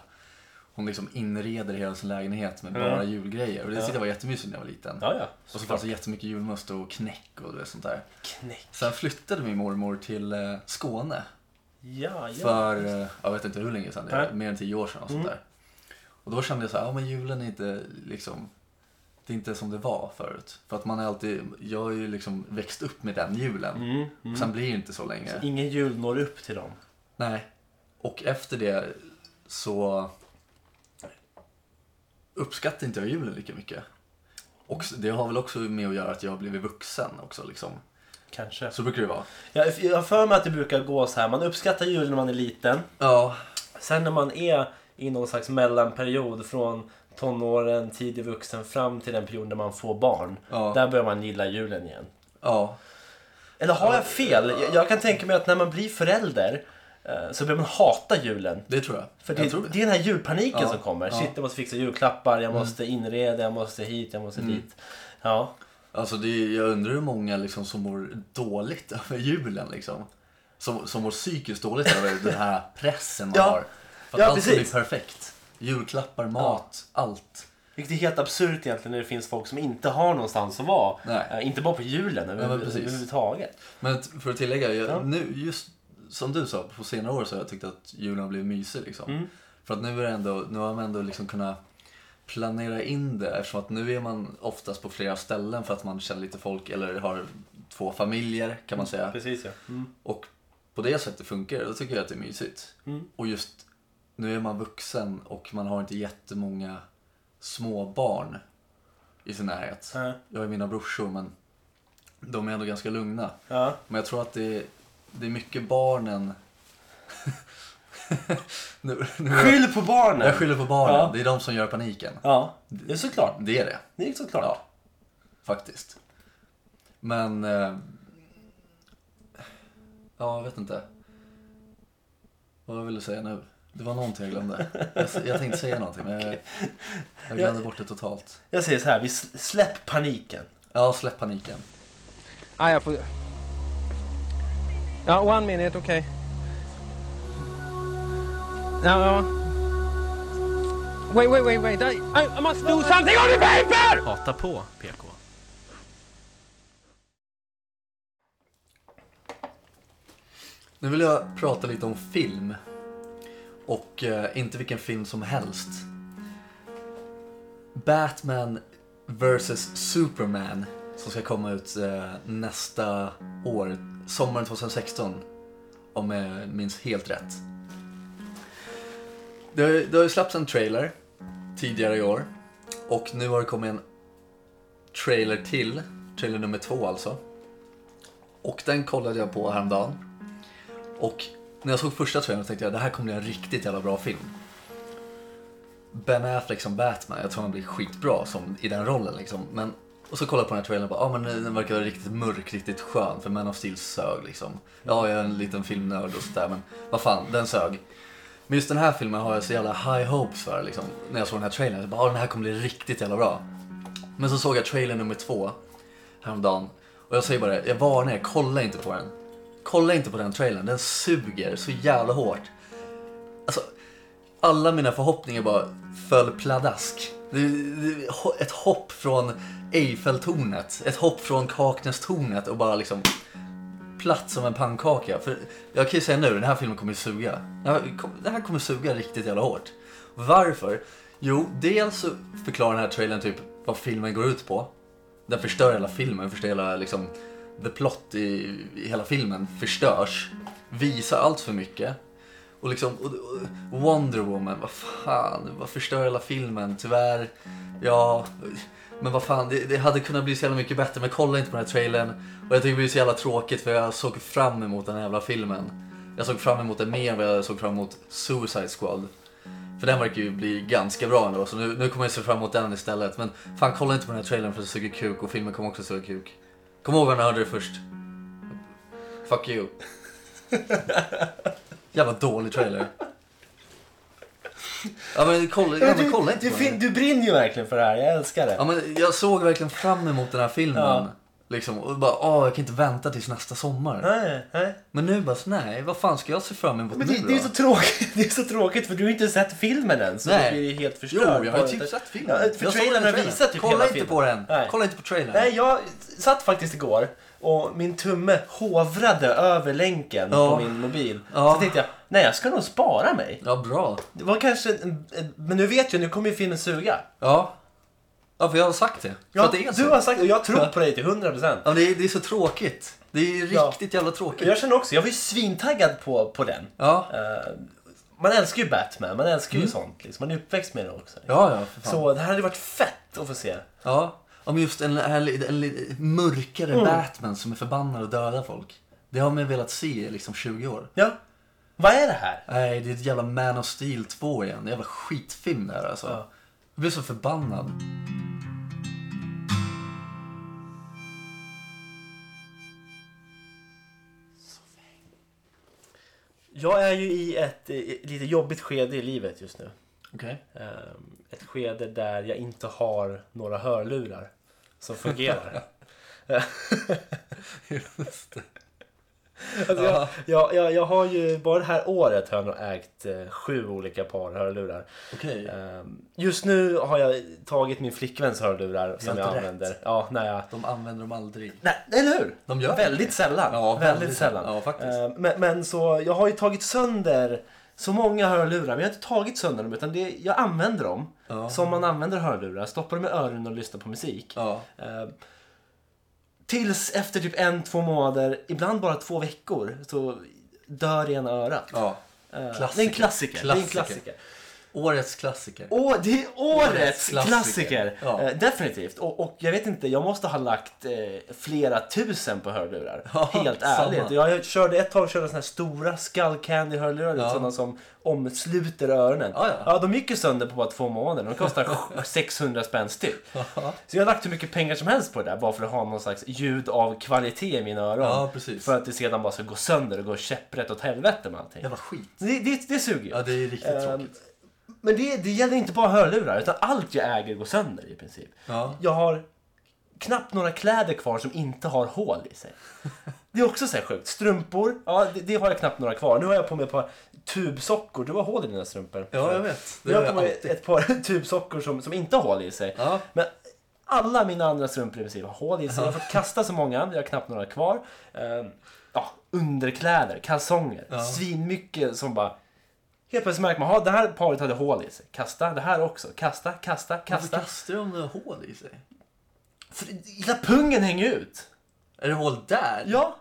Hon liksom inreder hela sin lägenhet med bara julgrejer. Och det tyckte jag var jättemysigt när jag var liten.
Mm. Ja, ja.
Och så fanns det jättemycket julmust och knäck och det sånt där.
Knäck.
Sen flyttade min mormor till eh, Skåne
Ja, ja.
för, eh, jag vet inte hur länge sedan det är,
Nej. Mm.
mer än tio år sedan och sånt där. Och då kände jag så här, ja men julen är inte liksom, det är inte som det var förut. För att man är alltid, jag har ju liksom växt upp med den julen.
Mm,
Och
mm.
Sen blir det ju inte så länge.
Ingen jul når upp till dem.
Nej. Och efter det så uppskattar inte jag julen lika mycket. Och det har väl också med att göra att jag har blivit vuxen också liksom.
Kanske.
Så brukar det vara.
Jag, jag har för mig att det brukar gå så här. Man uppskattar julen när man är liten.
Ja,
Sen när man är i någon slags mellanperiod från tonåren, tidig vuxen fram till den perioden där man får barn.
Ja.
Där börjar man gilla julen igen.
ja.
Eller har jag fel? Jag, jag kan tänka mig att när man blir förälder eh, så börjar man hata julen.
Det tror jag.
För
jag
det,
tror
det är den här julpaniken
Ja,
som kommer.
ja. Mm.
Shit, jag måste fixa julklappar, jag måste inreda, jag måste hit, jag måste dit. Ja,
Alltså det är, jag undrar hur många liksom som mår dåligt över julen liksom. Som, som mår psykiskt dåligt över den här pressen man
Ja.
har. För att
Ja,
allt ska bli
precis.
perfekt. Julklappar, mat, allt.
vilket är helt absurt egentligen när det finns folk som inte har någonstans att vara.
Nej.
Eh, inte bara på julen över,
Ja, men precis.
överhuvudtaget.
Men t- för att tillägga, jag,
Ja.
nu, just som du sa, på senare år så har jag tyckt att julen har blivit mysig liksom.
Mm.
För att nu, är det ändå, nu har man ändå liksom kunnat planera in det eftersom att nu är man oftast på flera ställen för att man känner lite folk eller har två familjer kan man säga.
Precis ja. Mm.
Och på det sättet funkar det, då tycker jag att det är mysigt. Och just nu är man vuxen och man har inte jättemånga småbarn i sin närhet.
Nej.
Jag har ju mina brorsor men de är ändå ganska lugna.
Ja.
Men jag tror att det är, det är mycket barnen... nu, nu,
Skyll på barnen!
jag skyller på barnen,
Ja.
det är de som gör paniken.
Ja, det är såklart.
Det är det.
Det är såklart.
Ja, faktiskt. Men... Eh, ja, jag vet inte. Vad jag ville säga nu? Det var någonting jag glömde. Jag, jag tänkte säga någonting men jag, jag glömde bort det totalt.
Jag säger så här, vi s- släpp paniken.
Ja, släpp paniken.
Ah, jag får... Ja, one minute, okej. Ja, ja. Wait, wait, wait, wait. I, I must do something on the paper!
Hata på PK.
Nu vill jag prata lite om film. Och eh, inte vilken film som helst. Batman vs Superman som ska komma ut eh, nästa år, sommaren 2016. Om jag minns helt rätt. Det har, ju- det har ju släppts en trailer tidigare i år. Och nu har det kommit en trailer till, trailer nummer två alltså. Och den kollade jag på häromdagen. Och när jag såg första trailern tänkte jag det här kommer bli en riktigt jävla bra film. Ben Affleck som Batman, jag tror han blir skitbra som, i den rollen liksom. Men, och så kollar jag på den här trailern och bara, ah, men den verkar vara riktigt mörk, riktigt skön för Man of Steel sög liksom. Ja, jag är en liten filmnörd och sådär men vad fan, den sög. Men just den här filmen har jag så jävla high hopes för liksom. När jag såg den här trailern, jag bara, ah, den här kommer bli riktigt jävla bra. Men så såg jag trailer nummer två häromdagen. Och jag säger bara det, jag varnar er, kolla inte på den. Kolla inte på den trailern, den suger så jävla hårt. Alltså, alla mina förhoppningar bara föll pladask. Det, det, ho- ett hopp från Eiffeltornet, ett hopp från Kaknästornet och bara liksom platt som en pannkaka. För jag kan ju säga nu, den här filmen kommer ju suga. Den här, kom- den här kommer suga riktigt jävla hårt. Varför? Jo, dels så förklarar den här trailern typ vad filmen går ut på. Den förstör hela filmen, förstör hela liksom, the plot i, i hela filmen förstörs. Visar allt för mycket. Och liksom, och, och Wonder Woman, vad fan, vad förstör hela filmen, tyvärr. Ja, men vad fan, det, det hade kunnat bli så jävla mycket bättre, men kolla inte på den här trailern. Och jag tycker det blir så jävla tråkigt för jag såg fram emot den här jävla filmen. Jag såg fram emot den mer än vad jag såg fram emot Suicide Squad. För den verkar ju bli ganska bra ändå, så nu, nu kommer jag se fram emot den istället. Men fan, kolla inte på den här trailern för det suger kuk och filmen kommer också suga kuk. Kom ihåg vad ni hörde det först. Fuck you. Jävla dålig trailer. Ja men kolla, ja, men kolla inte
du,
på
fin-
den.
du brinner ju verkligen för det här, jag älskar det.
Ja men jag såg verkligen fram emot den här filmen.
Ja.
Liksom, och bara åh jag kan inte vänta tills nästa sommar.
Nej, nej.
Men nu bara, så, nej vad fan ska jag se fram emot
Men
nu
det,
då?
det, är så tråkigt, det är så tråkigt för du har inte sett filmen än så
Nej.
du blir ju helt
Jo,
förstörd.
jag har ju typ sett filmen.
Ja, för
jag såg
trailern har
den
visat typ
Kolla
hela
inte
filmen.
på den.
Nej.
Kolla inte på trailern.
Nej, jag satt faktiskt igår och min tumme hovrade över länken
Ja.
på min mobil.
Ja.
Så tänkte jag, nej jag ska nog spara mig.
Ja, bra.
Det var kanske en, en, men nu vet jag, nu kommer ju filmen suga.
Ja. Ja, för jag har sagt det. För
Ja,
att det är så.
du har sagt och jag tror på dig till 100%.
Ja, men det, är, det är så tråkigt. Det är
Ja.
riktigt jävla tråkigt.
Jag känner också, jag var ju svintaggad på, på den.
Ja.
Eh, man älskar ju Batman, man älskar ju sånt. Liksom. Man är uppväxt med det också.
Ja, ja, för fan.
Så det här hade varit fett att få se.
Ja, om just en, en, en, en mörkare
Mm.
Batman som är förbannad och dödar folk. Det har man ju velat se i liksom 20 år.
Ja. Vad är det här?
Nej, det är ett jävla Man of Steel 2 igen. Det är en jävla skitfilm där alltså.
Ja.
Jag blev så förbannad.
Jag är ju i ett eh, lite jobbigt skede i livet just nu.
Okej.
Ehm, ett skede där jag inte har några hörlurar som fungerar.
Just det.
Alltså jag, jag, jag, jag har ju bara det här året har jag nog ägt eh, sju olika par hörlurar.
Okej.
Ehm, Just nu har jag tagit min flickväns hörlurar som
inte
jag
rätt.
använder. Ja, när jag...
De använder dem aldrig.
Nej, eller hur?
De gör
Väldigt sällan.
Ja,
väldigt,
väldigt
sällan.
sällan. Ja, faktiskt.
Ehm, Men, men så, jag har ju tagit sönder så många hörlurar, men jag har inte tagit sönder dem utan det, jag använder dem
Ja.
som man använder hörlurar. Stoppar dem i öronen och lyssnar på musik.
Ja.
Ehm, Tills efter typ en, två månader, ibland bara två veckor, så dör ena örat.
ja.
Ehm, Det är
Klassiker.
en klassiker. Det är en
Klassiker.
klassiker.
Årets klassiker.
Åh, det är årets
Årets
klassiker!
klassiker. Ja.
Eh, definitivt. Och, och jag vet inte, jag måste ha lagt eh, flera tusen på hörlurar.
Ja,
Helt
samma.
ärligt. Jag körde ett tag körde såna här stora skull candy hörlurar,
Ja.
sådana som omsluter öronen.
Ja, ja.
de gick ju sönder på bara två månader. De kostar 600 spänn styck. Så jag har lagt hur mycket pengar som helst på det där bara för att ha någon slags ljud av kvalitet i mina öron.
Ja, precis.
För att det sedan bara ska gå sönder och gå käpprätt åt helvete med allting.
Jävla skit.
Det, det, det suger ju.
Ja, det är riktigt
Ehm,
tråkigt.
Men det, det gäller inte bara hörlurar, utan allt jag äger går sönder i princip.
Ja.
Jag har knappt några kläder kvar som inte har hål i sig. Det är också så här sjukt. Strumpor, ja, det, det har jag knappt några kvar. Nu har jag på mig ett par tubsockor. Du har hål i dina strumpor.
Ja, jag vet. Det
Nu har
gör
jag
jag
på mig
alltid.
ett par tubsockor som, som inte har hål i sig.
Ja.
Men alla mina andra strumpor i princip har hål i sig. Jag har fått kasta så många, jag har knappt några kvar. Ehm, ja, underkläder, kalsonger,
Ja.
svinmycket som bara... Helt plötsligt märker man att det här paret hade hål i sig. Kasta, det här också. Kasta, kasta,
Varför
kasta.
kastar de några hål i sig?
För hela pungen hänger ut!
Är det hål där?
Ja,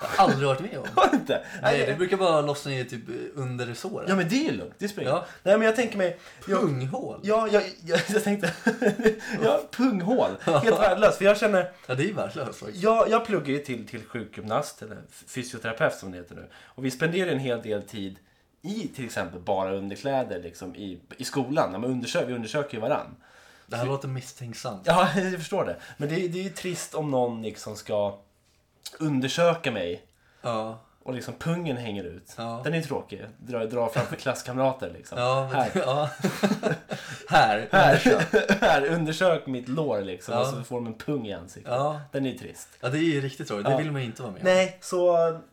Jag har aldrig varit med om.
har du inte?
Nej, det brukar bara lossna ner typ under resåret.
Ja men det är ju lugnt, det springer.
Ja.
Nej men jag tänker mig... jag-
Punghål? Ja,
Ja, jag, jag, jag tänkte... ja, punghål. Helt värdelöst. För jag känner...
det är ju värdelöst faktiskt.
Jag, jag pluggar ju till, till sjukgymnast, eller f- fysioterapeut som det heter nu. Och vi spenderar en hel del tid i till exempel bara underkläder liksom, i, i skolan. Ja, men undersöker, vi undersöker ju varann.
Det här låter misstänksamt.
Ja, jag förstår det. Men det, det är ju trist om någon liksom ska undersöka mig
Ja.
och liksom pungen hänger ut.
Ja.
Den är ju tråkig. Dra, dra framför klasskamrater liksom.
Ja, men,
Här.
ja. här.
Här, här, undersök mitt lår liksom
Ja.
och så får de en pung i ansiktet.
Ja.
Den är ju trist.
ja, det är ju riktigt tråkigt. Det
Ja.
vill man ju inte vara med om.
Nej, så...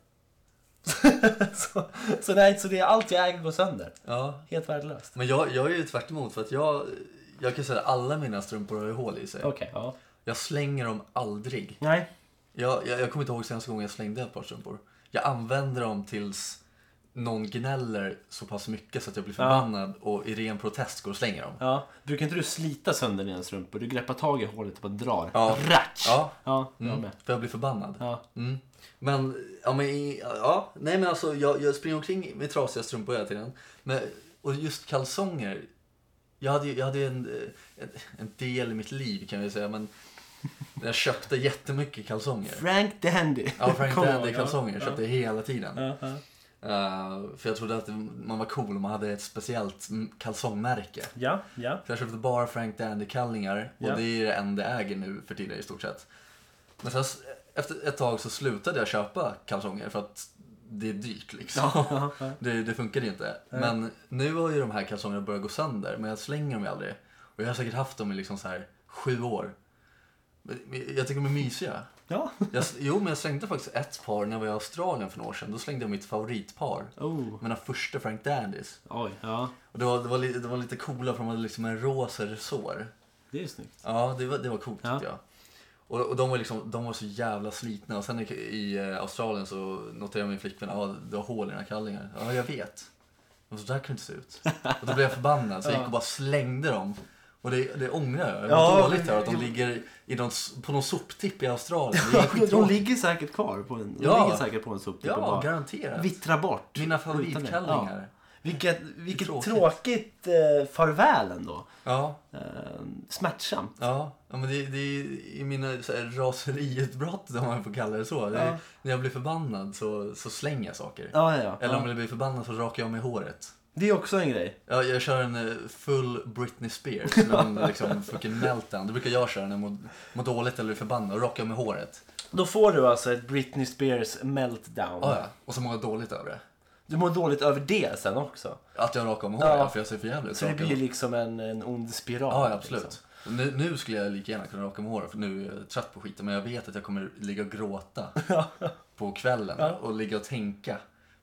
så, så, nej, så det är allt jag äger går sönder.
Ja.
Helt värdelöst.
Men jag, jag är ju tvärt emot för att jag, jag kan säga att alla mina strumpor har ju hål i sig.
Okej, ja.
Jag slänger dem aldrig.
Nej.
Jag, jag, jag kommer inte ihåg senaste gången jag slängde ett par strumpor. Jag använder dem tills någon gnäller så pass mycket så att jag blir förbannad och i ren protest går och slänger dem.
Ja. Brukar inte du slita sönder dina strumpor? Du greppar tag i hålet och bara drar.
Ja.
Ratsch!
Ja.
Ja, jag
Mm,
med.
för jag blir förbannad.
Ja.
Mm. Men, ja, men, i- ja, nej men alltså jag, jag springer omkring med trasiga strumpor hela tiden. Men, och just kalsonger. Jag hade ju jag hade ju en, eh, en, en del i mitt liv kan jag säga, men jag köpte jättemycket kalsonger.
Frank the Handy.
Ja, Frank
Kommer jag
Dandy
ihåg,
kalsonger
ja.
köpte jag hela tiden.
Ja, ja.
Eh, för jag trodde att man var cool om man hade ett speciellt mm, kalsongmärke.
Ja, ja.
Så jag köpte bara Frank Dandy-kallingar och
Ja.
det är det enda jag äger nu för tiden i stort sett. Men sen s- efter ett tag så slutade jag köpa kalsonger för att det är dyrt liksom. det, det funkar ju inte. Men nu har ju de här kalsongerna börjat gå sönder men jag slänger dem ju aldrig. Och jag har säkert haft dem i liksom så här sju år. Men- men Jag tycker de är mysiga.
Ja.
Jag, s- jo, men jag slängde faktiskt ett par när jag var i Australien för några år sedan. Då slängde jag mitt favoritpar.
Oh.
Mina första Frank Dandys.
Oj, ja.
Och det, var, det, var, li- det var lite coola för de hade liksom en rosa resår.
Det är ju snyggt.
Ja, det var, det var coolt
Ja.
tyckte jag. Och, och de, var liksom, de var så jävla slitna. Och sen i, i eh, Australien så noterade min flickvän att ah, du har hål i dina kallingar. Ja, jag vet. Men så där kan det inte se ut. Och då blev jag förbannad så jag gick och bara slängde dem. Och det, det ångrar jag. Jag mår
Ja,
dåligt här att de
men-
ligger i någon, s- på någon soptipp i Australien. Det är skittråkigt.
De ligger säkert kvar på en, de
Ja.
ligger säkert på en soptipp och
Ja,
bara
garanterat.
vittrar bort.
Mina
Utan det.
favoritkallingar.
Ja. Vilket, vilket
Tråkigt.
tråkigt, eh, farväl ändå.
Ja,
Eh, smärtsamt.
ja. ja men det, det är i mina så här, raseriutbrott, om man får kalla det så. Det, är-
Ja.
När jag blir förbannad så, så slänger jag saker.
Ja, ja,
Eller om
ja.
jag blir förbannad så rakar jag mig håret.
Det är också en grej.
Ja, jag kör en eh, full Britney Spears med en liksom fucking meltdown. Det brukar jag köra när jag mår, mår dåligt eller är förbannad och rakar med håret.
Då får du alltså ett Britney Spears meltdown.
Ah, ja. Och så mår jag dåligt över det.
Du mår dåligt över det sen också.
Att jag rakar med håret,
Ja.
för jag ser för jävligt ut.
Så det
Rakar-
blir liksom en, en ond spiral.
Ja, ja, absolut.
Liksom.
Nu, nu skulle jag lika gärna kunna raka mig håret för nu är jag trött på skiten. Men jag vet att jag kommer ligga och gråta på kvällen och ligga och tänka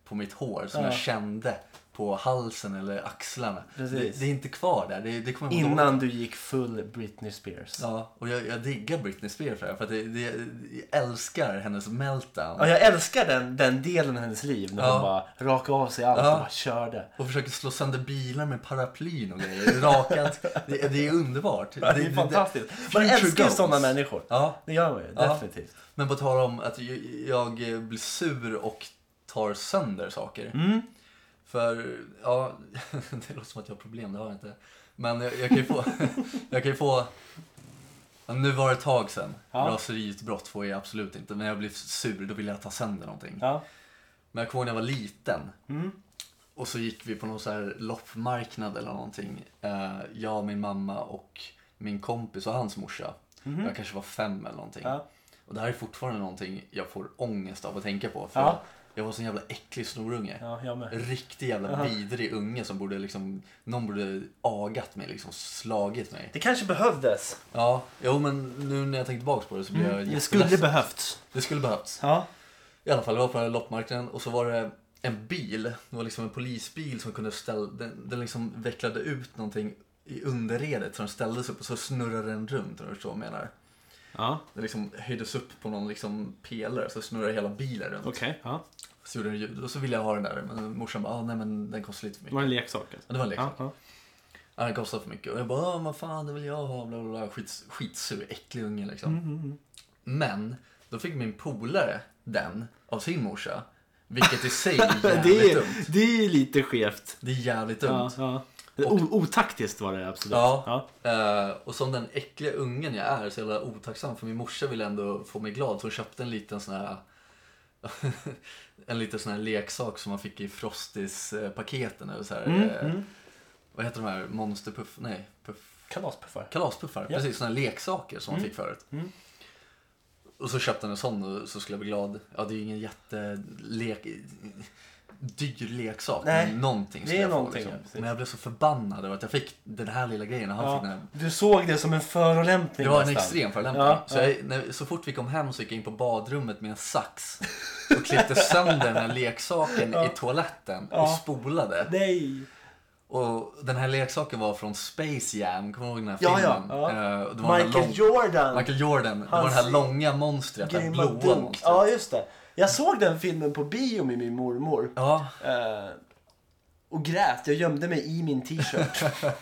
på mitt hår som
Ja.
jag kände på halsen eller axlarna. Det,
Precis.
det är inte kvar där. Det, det kommer jag må dåligt
Innan du gick full Britney Spears. Ja.
Ja, och jag, jag diggar Britney Spears för det, här, för att det, det, jag älskar hennes meltdown.
jag älskar den, den delen av hennes liv när
Ja.
hon bara rakade av sig allt
Ja.
och bara körde.
Och försöker slå sönder bilar med paraplyn och grejer. Rakat. Det, det är underbart.
Det är fantastiskt. Man älskar ju sådana människor.
Ja,
Det gör man ju,
Ja.
definitivt.
men på tal om att jag, jag blir sur och tar sönder saker. För, ja, det låter som att jag har problem, det har jag inte. Men jag, jag kan ju få, jag kan ju få, ja, nu var det ett tag sedan.
Ja.
Raseriutbrott får jag absolut inte, men när jag blir sur då vill jag ta sönder någonting.
Ja.
Men jag kommer ihåg när jag var liten.
Mm.
Och så gick vi på någon så här loppmarknad eller någonting. Eh, Jag, min mamma och min kompis och hans morsa. Jag kanske var fem eller någonting.
Mm-hmm. Ja.
Och det här är fortfarande någonting jag får ångest av att tänka på. För
Ja.
jag var en sån jävla äcklig snorunge.
Ja, jag med.
Riktig jävla vidrig unge som borde liksom, någon borde agat mig, liksom slagit mig.
Det kanske behövdes.
Ja, jo men nu när jag tänker tillbaka på det så blir jag
Mm. Det skulle
jätteledsen.
behövts.
Det skulle behövts.
Ja.
I alla fall, det var på den här loppmarknaden och så var det en bil. Det var liksom en polisbil som kunde ställa, den, den liksom vecklade ut någonting i underredet så den ställdes upp och så snurrade den runt om du förstår vad jag menar.
Ja,
Den liksom höjdes upp på någon liksom pelare så snurrade hela bilen runt.
okej. Ja.
Så gjorde den ljud och så ville jag ha den där men morsan bara ah, nej men den kostar lite för mycket.
en leksak alltså.
Ja, det var en leksak.
Ja, ja.
Ja, den kostar för mycket. Och jag bara, "Ah, vad fan det vill jag ha, bla bla bla. Skits, skitsur, äcklig unge liksom. Men, då fick min polare den av sin morsa. Vilket i sig är
Det
jävligt
är,
dumt.
det är lite skevt.
Det är jävligt dumt.
Ja, ja. O- otaktiskt var det absolut.
Ja. Eh, och som den äckliga ungen jag är så jävla otacksam för min morsa ville ändå få mig glad så hon köpte en liten sån här en liten sån här leksak som man fick i Frostis eh, paketen eller så här. eh, Vad heter de här? Monsterpuff? Nej, puff.
Kalaspuffar.
Kalaspuffar,
Ja. Mm.
precis. Sådana leksaker som man fick förut. Och så köpte han en sån och så skulle jag bli glad. Ja, det är ju ingen jättelek... Dyr leksak,
Nej,
men någonting
det
skulle
är
jag få.
någonting,
Liksom.
ja, precis.
Men jag blev så förbannad över att jag fick den här lilla grejen och han fick den här.
Du såg det som en förolämpning
Det var en
nästan.
extrem förolämpning.
Ja,
så, jag, när, så fort vi kom hem så gick jag in på badrummet med en sax och klippte sönder den här leksaken i toaletten och
Ja.
spolade.
Nej!
Och den här leksaken var från Space Jam, kommer du ihåg den här
Ja, ja,
filmen?
ja.
Eh, och det var den
Michael
här lång-
Jordan!
Michael Jordan, det var
Hans-
det här långa monstret, det här
Grymma
blåa
dunk.
monstret.
Ja, just det. Jag såg den filmen på bio med min mormor.
Ja,
Eh, och grät. Jag gömde mig i min t-shirt.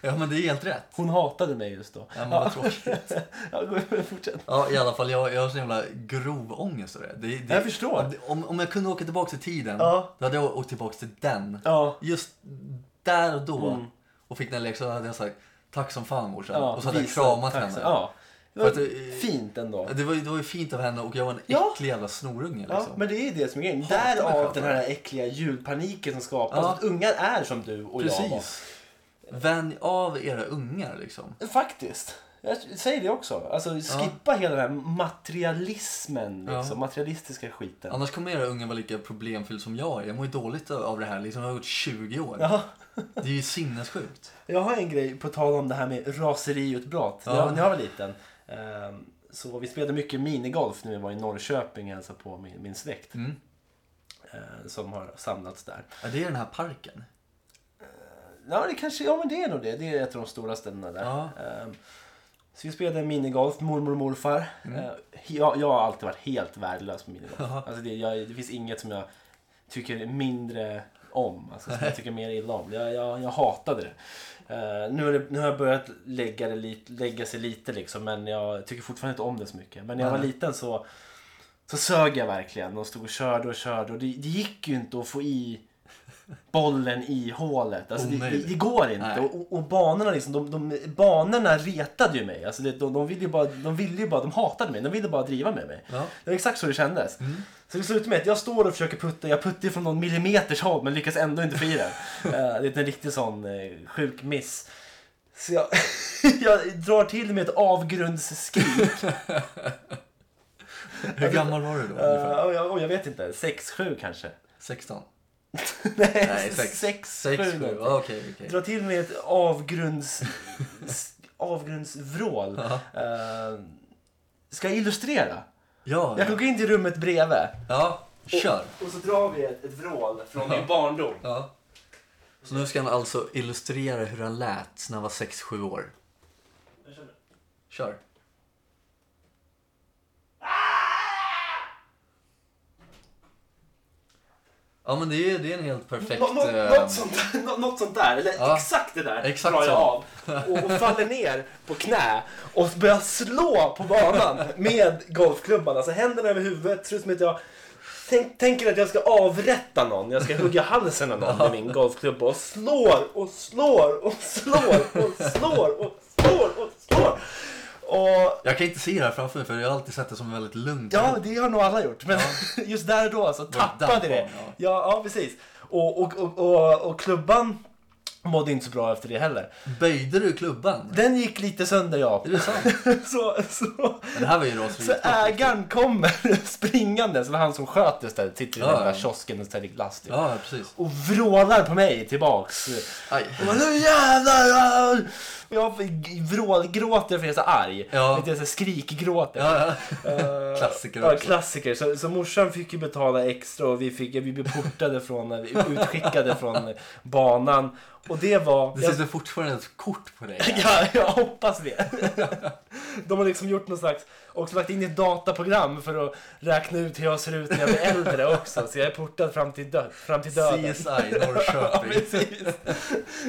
ja, men det är helt rätt.
Hon hatade mig just då.
Ja, men vad tråkigt.
Ja, fortsätt.
Ja, i alla fall, jag, jag har sån jävla grov ångest över det. det, det
Jag förstår.
att- Om, om jag kunde åka tillbaka till tiden,
Ja.
då hade jag åkt tillbaka till den.
Ja. Mm.
Just där och då, och fick den läxan, hade jag sagt tack som fan morsan. och så hade jag
visa-
kramat
tack
henne.
så- Ja. Det var
För att det-
fint ändå.
Det, var, ju- det var ju fint av henne och jag var en
Ja.
äcklig jävla snorunge liksom.
Ja, men det är ju det som är grejen.
Hatar mig själv
Därav
för
den här äckliga ljudpaniken som skapas.
Ja.
Att ungar är som du och jag var.
Precis. Vänj av era ungar liksom.
Faktiskt. Jag säger det också. Alltså skippa hela den här materialismen. Liksom.
Ja.
Materialistiska skiten.
Annars kommer era ungar vara lika problemfylld som jag är. Jag mår ju dåligt av det här. Liksom, jag har gått 20 år.
Ja.
Det är ju sinnessjukt.
Jag har en grej på tal om det här med raseriutbrott.
Ja.
När, jag, när jag var liten. ehm, så vi spelade mycket minigolf när vi var i Norrköping och hälsade på min, min släkt.
Mm.
eh, som har samlats där.
Ja, det är den här parken.
Ja, det kanske, ja men det är nog det. Det är ett av de stora ställena där.
Ja.
Ehm, Så vi spelade minigolf, mormor och morfar. Eh, Jag, jag har alltid varit helt värdelös på minigolf.
Mm. Ja.
Alltså det, jag, det finns inget som jag tycker mindre om, alltså som jag tycker mer illa om. Jag, jag, jag hatade det. Eh, nu, har det. nu har jag börjat lägga, det lite, lägga sig lite liksom, men jag tycker fortfarande inte om det så mycket. Men när jag var
Nej.
liten så, så sög jag verkligen och stod och körde och körde och det, det gick ju inte att få i bollen i hålet. Alltså, det, det,
Omöjligt.
det går inte.
Nej.
Och, och banorna, liksom, de, de, banorna retade ju mig. Alltså, det, de, de, ville ju bara, de ville ju bara, de hatade mig. De ville bara driva med mig.
Ja. Mm.
Det var exakt så det kändes. Så det slutade med att jag står och försöker putta. Jag puttar ju från någon millimeters håll men lyckas ändå inte få i den. Eh, det är en riktig sån eh, sjuk miss. Så jag, jag drar till med ett avgrundsskrik.
Hur gammal var du då?
Eh,
ungefär?
och jag, och jag vet inte, 6-7 kanske.
16?
Nej,
Nej, 6.
6
6, 7. Okej, okej.
Dra till med ett avgrunds... s- avgrundsvrål.
Ja.
Eh, ska jag illustrera?
Ja,
Jag kan gå in till rummet bredvid.
ja. Kör.
Och så drar vi ett, ett vrål från
Ja.
min barndom.
Ja. Så nu ska han alltså illustrera hur han lät när han var 6-7 år. Kör. Ja men det är, det är en helt perfekt...
Nå, nå,
eh,
något, sånt, där- nå, något sånt där, eller
Ja.
exakt det där
Exakt
drar jag
så.
av. Och, och faller ner på knä och börjar slå på banan med golfklubban. Alltså händerna över huvudet, ser ut som att jag tänk, tänker att jag ska avrätta någon. Jag ska hugga halsen av någon med min golfklubba och slår och slår och slår och slår och slår och slår. Och
Jag kan inte se det här framför mig för jag har alltid sett det som väldigt lugnt.
Ja, det har nog alla gjort. Men just där och då så tappade
damp
det.
av,
Ja,
ja.
ja precis. Och, och, och, och, och klubban mådde inte så bra efter det heller.
Böjde du klubban?
Den gick lite sönder ja.
Är det sant?
Så, så,
Men det här var ju
så
raseriet.
ägaren kommer springande, så det var han som sköt just där, sitter i
Ja,
den där
ja.
kiosken och ställer glass till.
Ja, precis.
Och vrålar på mig tillbaks.
Aj.
Och bara, nu jävlar! ja." Jag fick- vrålgråter för jag är så arg.
Ja.
Inte ens skrikgråter.
Ja, ja.
Eh,
Klassiker
Ja,
också.
klassiker. Så, så morsan fick ju betala extra och vi, fick, vi blev portade från, utskickade från banan. Och det var...
Det
Jag,
sitter fortfarande ett kort på dig.
jag, jag hoppas det. De har liksom gjort någon slags... Också lagt in ett dataprogram för att räkna ut hur jag ser ut när jag blir äldre också. Så jag är portad fram till, dö, fram till döden.
CSI
Ja,
Norrköping.
precis.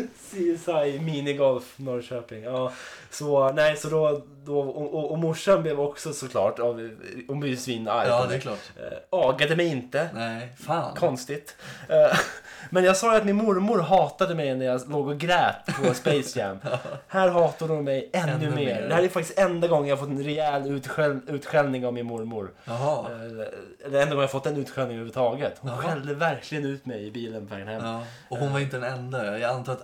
CSI minigolf Norrköping. Ja, så nej, så då, då och, och, och morsan blev också såklart, av, hon blev ju svinarg.
Ja,
på
det är
mig.
klart.
Eh, agade mig inte.
Nej, fan.
Konstigt. Eh, Men jag sa ju att min mormor hatade mig när jag låg och grät på Space Jam. Här hatar hon mig ännu,
Ännu
mer.
mer.
Det här är faktiskt enda gången jag fått en rejäl utskäll, utskällning av min mormor.
Jaha.
Eller eller enda gången jag fått en utskällning överhuvudtaget. Hon
Jaha.
skällde verkligen ut mig i bilen på vägen hem.
Ja. Och hon var inte den enda. Jag antar att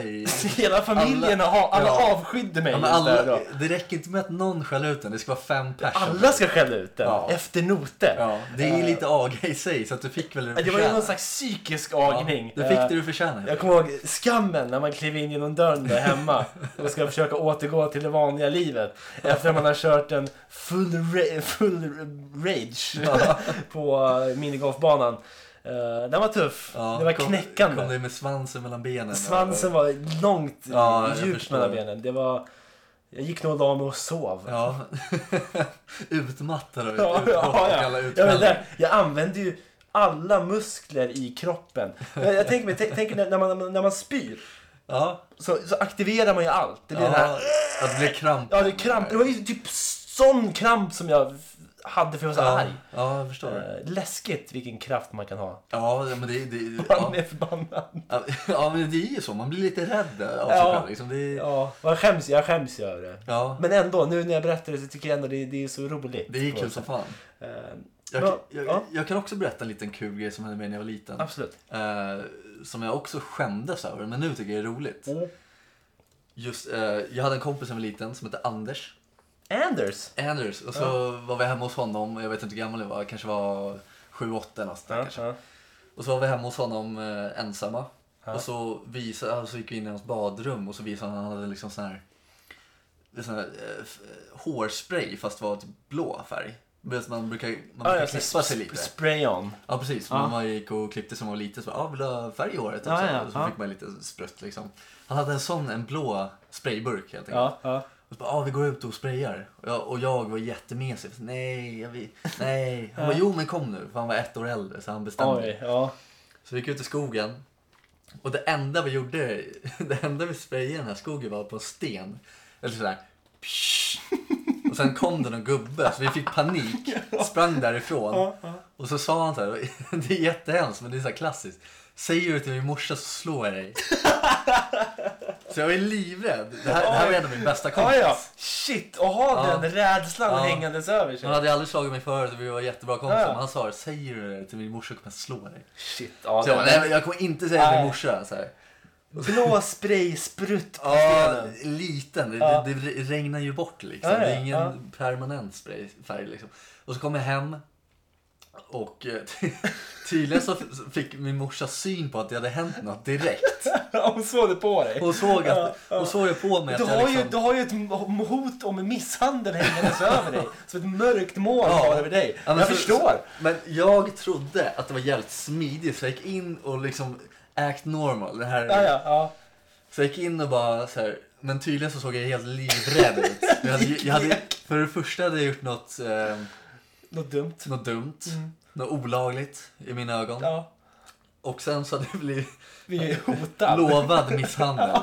i...
Hela familjen, alla, ha, alla
ja.
avskydde mig
Ja, men
just där
alla,
då.
det räcker inte med att någon skäller ut den. Det ska vara fem personer.
Alla ska skälla ut den,
Ja.
efter noter.
Ja, det är
Eh,
ju lite aga i sig, så att du fick väl det
Det
du
var ju någon
förtjänade.
slags psykisk agning.
Ja, du fick
Eh,
det du förtjänade.
Jag kommer ihåg skammen när man klev in genom dörren där hemma och ska försöka återgå till det vanliga livet efter att man har kört en full, ra- full rage på eh, minigolfbanan. Eh, Den var tuff.
Ja,
den var
kom-
knäckande.
Kom du med svansen mellan benen?
Svansen var långt
Ja, jag
djupt
förstår.
mellan benen. Det var... Jag gick nog och la mig och sov.
Ja. Utmattad och
Ja, ja, ja.
alla
Ja, men
utskällningar.
där, jag använder ju alla muskler i kroppen. Jag, jag tänker mig, tänk, tänk när, när, man, när man spyr
Ja,
så, så aktiverar man ju allt. Det blir den här
ja. Att det blir kramp.
Ja, det, är kramp. det var ju typ sån kramp som jag f- hade för jag var så
Ja,
arg.
Ja, jag förstår.
Eh, Läskigt vilken kraft man kan ha.
Ja, men det, det,
Man
ja.
är förbannad.
ja, men det är ju så. Man blir lite rädd av sig
Ja.
själv. Liksom. Det, ja.
Ja, och jag skäms, jag skäms ju över det.
Ja,
Men ändå, nu när jag berättar det så tycker jag ändå det, det är så roligt.
det är
på
kul
något
som
sätt.
fan.
Eh,
Jag,
Ja,
jag,
ja.
jag kan också berätta en liten kul grej som hände mig när jag var liten.
Absolut.
Eh, som jag också skämdes över, men nu tycker jag är roligt.
Mm.
Just, eh, jag hade en kompis som var liten som hette Anders.
Anders!
Anders. Och så var vi hemma hos honom, jag vet inte hur gammal jag var, jag kanske var 7-8 eller något sånt där
Ja,
kanske.
ja.
Och så var vi hemma hos honom eh, ensamma. Och så, visade, alltså, gick vi in i hans badrum och så visade han att han hade liksom sån här, det är sån här eh, f- hårspray fast det var typ blå färg. Du vet, Man brukar, man
Ja,
brukar
jag
klippa sig lite.
Spray on.
Ja precis,
Ja.
man var gick och klippte som man var liten så bara, ah, vill du ha färg i håret?
Ja,
så,
ja,
så
ja.
fick man lite sprutt liksom. Han hade en sån, en blå sprayburk helt enkelt.
Ja, ja.
Och så bara, ah, vi går ut och sprayar. Och jag, och jag var jättemesig. Så, Nej, jag vill, nej. Han bara, jo men kom nu. För han var ett år äldre så han bestämde.
Oj, ja.
Så vi gick ut i skogen. Och det enda vi gjorde, det enda vi sprayade i den här skogen var på en sten. Eller sådär. psh. Och sen kom det någon gubbe så vi fick panik. Sprang därifrån. Och så sa han så här, det är jättehemskt men det är så här klassiskt. Säger du till min morsa så slår jag dig. så jag är livrädd. Det här, det här var en av min bästa
Ah,
kompis.
ja. Shit, och ha
Ja.
den rädslan
Ja.
hängandes över sig.
Han hade aldrig slagit mig förut och vi var jättebra kompisar.
Ja.
Men han sa det, säger du det till min morsa kommer jag slå dig.
Shit, ja.
Så jag, bara,
den-
nej, men jag kommer inte säga det till
Nej.
min morsa. Så här.
Blå spray, sprutt på
Ja,
stenen.
liten. Det,
Ja.
det, det regnar ju bort liksom.
Ja, ja,
det är ingen
ja.
permanent sprayfärg liksom. Och så kom jag hem och eh, ty- tydligen så f- så fick min morsa syn på att det hade hänt något direkt.
Hon såg det på dig.
Hon såg, att, hon såg ju på mig att
Du
jag
har,
liksom...
ju, du har ju ett m- hot om misshandel hängandes över dig. Som ett mörkt moln
Ja.
har över dig.
Ja, men
jag
så-
förstår.
Men jag trodde att det var jävligt smidigt så jag gick in och liksom act normal. Det här,
Ja, ja, ja.
Så jag gick in och bara så här, men tydligen så såg jag helt livrädd ut. Jag hade, ju- jag hade, för det första hade jag gjort något, eh,
Något dumt.
något dumt, något olagligt i mina ögon.
Mm. Ja.
Och sen så hade jag blivit
Vi är hotade.
lovad misshandel.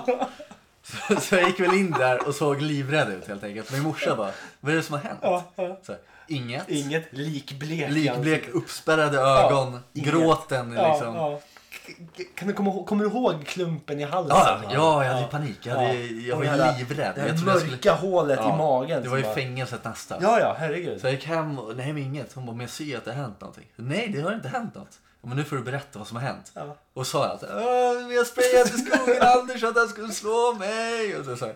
Så, så jag gick väl in där och såg livrädd ut helt enkelt. Min morsa bara, vad är det som har hänt?
Ja, ja.
Så här, inget.
Inget likblek. i
Likblek,
ansiktet.
uppspärrade ögon,
inget.
gråten
Ja,
liksom.
ja. K- k- Kan du komma, ihåg- kommer du ihåg klumpen i halsen?
Ja,
va?
ja, jag hade ju panik. Jag, hade, jag
Och
var
det
ju
här-
livrädd.
Det här
Jag trodde jag
mörka
skulle-
hålet i
Ja,
magen.
Det
som
var ju
bara-
fängelset nästan.
Ja, ja, herregud.
Så jag gick hem och, nej men inget. Hon bara, men jag ser ju att det har hänt någonting. Nej, det har inte hänt något. "Ja, Men nu får du berätta vad som har hänt.
Ja.
Och sa jag att, "Åh, men jag sprayade i skogen Anders att han skulle slå mig. Och så, så, här.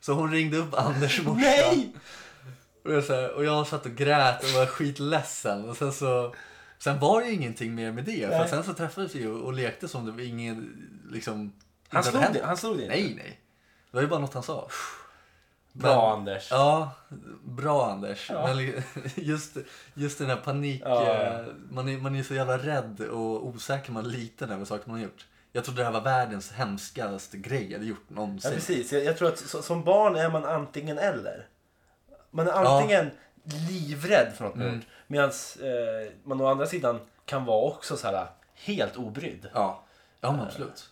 så hon ringde upp Anders morsa.
Nej!
Och, jag, så här, och jag satt och grät och var skitledsen. Och sen så, sen var det ju ingenting mer med det. För
Nej.
sen så träffades vi och, och lekte som det var ingen, liksom.
Han
inte hade
slog,
hänt.
dig, han slog dig?
Nej, nej. Det var ju bara något han sa.
Bra Anders.
Ja, bra Anders.
Ja.
Men li- just, just den här panik...
Ja.
eh, Man, är, man är så jävla rädd och osäker man är liten över saker man har gjort. Jag trodde det här var världens hemskaste grej jag hade gjort
Ja,
någonsin.
precis. Jag, jag tror att så, som barn är man antingen eller. Man är antingen livrädd för något
Mm.
man har gjort. Medan eh, man å andra sidan kan vara också så här helt obrydd.
ja. ja
Eh.
men absolut.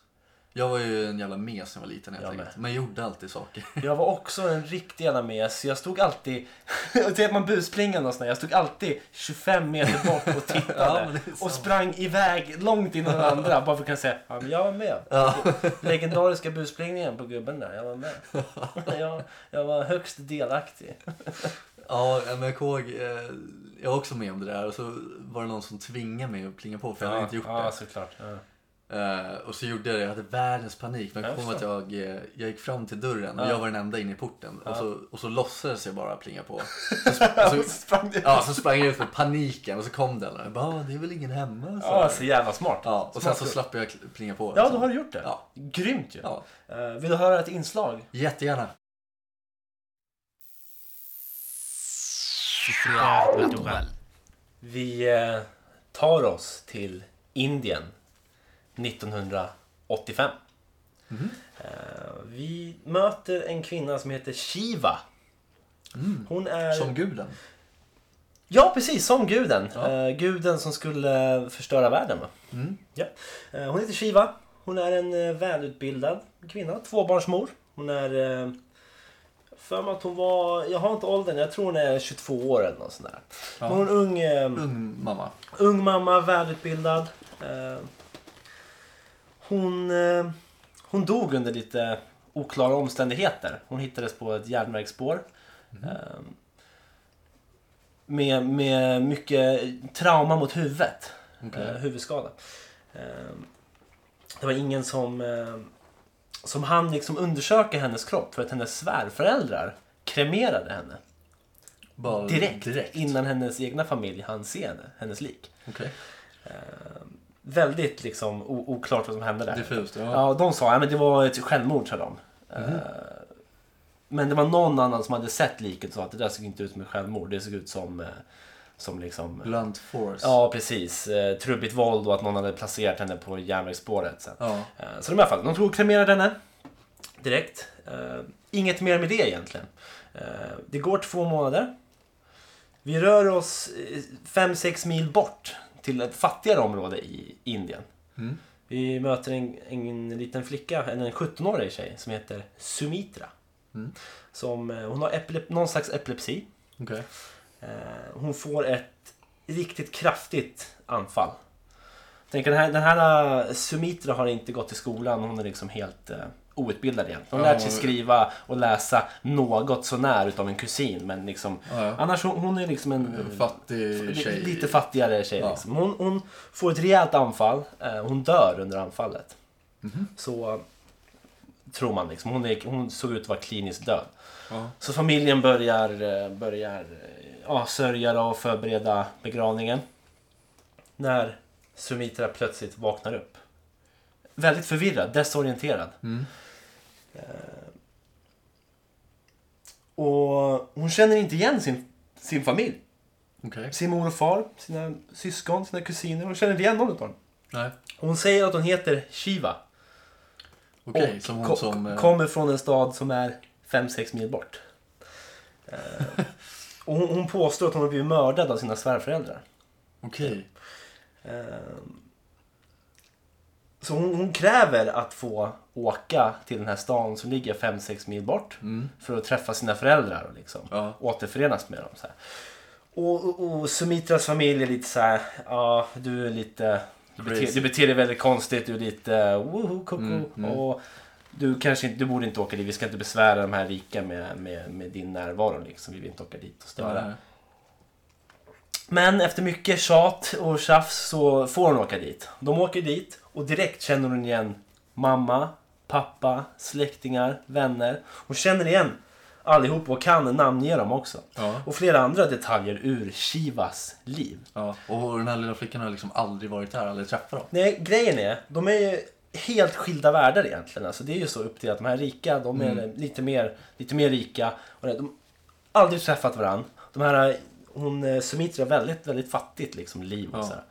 Jag var ju en jävla mes när jag var liten helt
Jag
enkelt. Men jag gjorde alltid saker.
Jag var också en riktig jävla mes. så Jag stod alltid... Säg att man busplingar någonstans. Jag stod alltid 25 meter bort och
Ja,
tittade.
men det är sant.
och sprang iväg långt innan alla andra. Bara för att kunna säga ja, men jag var med.
Ja.
Legendariska busplingningen på gubben där. Jag var med. Jag, jag var högst delaktig.
Ja, men jag kommer ihåg, eh, jag var också med om det där och så var det någon som tvingade mig att plinga på för jag hade inte gjort
ja,
det.
såklart. Ja.
Eh, och så gjorde jag det, jag hade världens panik. Men jag
Jag
kom att jag, eh, jag gick fram till dörren och jag var den enda inne i porten. Och, så, och så låtsades jag bara plinga på. Så,
Och så sprang du.
ja, så sprang jag ut med paniken och så kom den. Och jag bara, "Ah, det är väl ingen hemma? Så.
Ja, så jävla smart.
ja, och sen
Smart
så
gjort.
slapp jag kl- plinga på.
Ja, då har du gjort det.
Ja.
Grymt ju.
Ja,
Eh, vill du höra ett inslag?
jättegärna.
Vi eh, tar oss till Indien 1985. Eh, vi möter en kvinna som heter Shiva. Hon är...
Som guden.
Ja, precis. Som guden.
Ja.
Eh, guden som skulle eh, förstöra världen. Va?
Mm.
Ja. Eh, hon heter Shiva. Hon är en eh, välutbildad kvinna. Tvåbarnsmor. Hon är... Eh, för mig att hon var... Jag har inte åldern. Jag tror hon är 22 år eller något sånt där.
Ja.
Hon är en ung... Eh,
Ung mamma.
Ung mamma, välutbildad. Eh, hon, eh, hon dog under lite oklara omständigheter. Hon hittades på ett järnvägsspår.
Mhm.
Eh, med, med mycket trauma mot huvudet.
Okej.
Eh, huvudskada. Eh, det var ingen som, eh, som hann liksom undersöka hennes kropp för att hennes svärföräldrar kremerade henne.
Bara
Direkt,
direkt.
innan hennes egna familj hann se henne, hennes lik.
Okej.
Väldigt liksom o- oklart vad som hände där.
Diffust. Ja.
Ja, de sa att men det var ett självmord sa de. Eh, Men det var någon annan som hade sett liket och sa att det där såg inte ut som ett självmord. Det såg ut som, eh, som liksom...
Blunt force.
Ja, precis. Eh, Trubbigt våld och att någon hade placerat henne på järnvägsspåret. Sen.
Ja.
Eh, Så de i alla fall, de tog och kremerade henne. Direkt. Eh, inget mer med det egentligen. Eh, det går två månader. Vi rör oss 5-6 mil bort till ett fattigare område i Indien.
Mm.
Vi möter en, en liten flicka, eller en 17-årig tjej som heter Sumitra.
Mm.
Som, eh, hon har epilep- någon slags epilepsi.
Okej.
Eh, hon får ett riktigt kraftigt anfall. Tänk, den här, den här äh, Sumitra har inte gått i skolan. Hon är liksom helt uh, outbildad egentligen. Hon har
Ja,
lärt sig
hon-
skriva och läsa något sånär utav en kusin. Men liksom,
Ja, ja.
annars hon, hon är liksom en eh,
Fattig
li-
tjej.
lite fattigare tjej.
Ja.
Liksom. Hon, hon får ett rejält anfall. eh, Hon dör under anfallet.
Mhm.
Så eh, tror man liksom. Hon, är, hon såg ut att vara kliniskt död.
Ja.
Så familjen börjar, eh, börjar eh, ja, sörja och förbereda begravningen. När Sumitra plötsligt vaknar upp. Väldigt förvirrad, desorienterad.
Mm.
Eh, Och hon känner inte igen sin, sin familj.
Okej.
Sin mor och far, sina syskon, sina kusiner. Hon känner inte igen någon av dem.
Nej.
Hon säger att hon heter Shiva.
Okej,
Och
som hon
ko-
som... eh,
kommer från en stad som är 5-6 mil bort. Eh, och hon, hon påstår att hon har blivit mördad av sina svärföräldrar.
Okej.
Eh, så hon, hon kräver att få åka till den här stan som ligger 5-6 mil bort.
Mm.
För att träffa sina föräldrar och liksom
Ja.
återförenas med dem. Så här. Och, och, och Sumitras familj är lite så här, ja du är lite, du beter,
Crazy.
du beter dig väldigt konstigt, du är lite woho koko.
Mm, mm.
Och du kanske inte, du borde inte åka dit, vi ska inte besvära de här rika med, med, med din närvaro liksom. Vi vill inte åka dit och störa.
Nej.
Men efter mycket tjat och tjafs så får hon åka dit. De åker dit och direkt känner hon igen mamma, pappa, släktingar, vänner. Hon känner igen allihop och kan namnge dem också.
Ja.
Och flera andra detaljer ur Shivas liv.
ja. Och den här lilla flickan har liksom aldrig varit här, aldrig träffat dem.
Nej, grejen är, de är ju helt skilda världar egentligen. Alltså, det är ju så upp till att de här rika, de är
Mm.
lite, mer, lite mer rika. Och de har aldrig träffat varandra. De här, hon eh, Sumitra har väldigt, väldigt fattigt liksom, liv och
Ja.
sådär.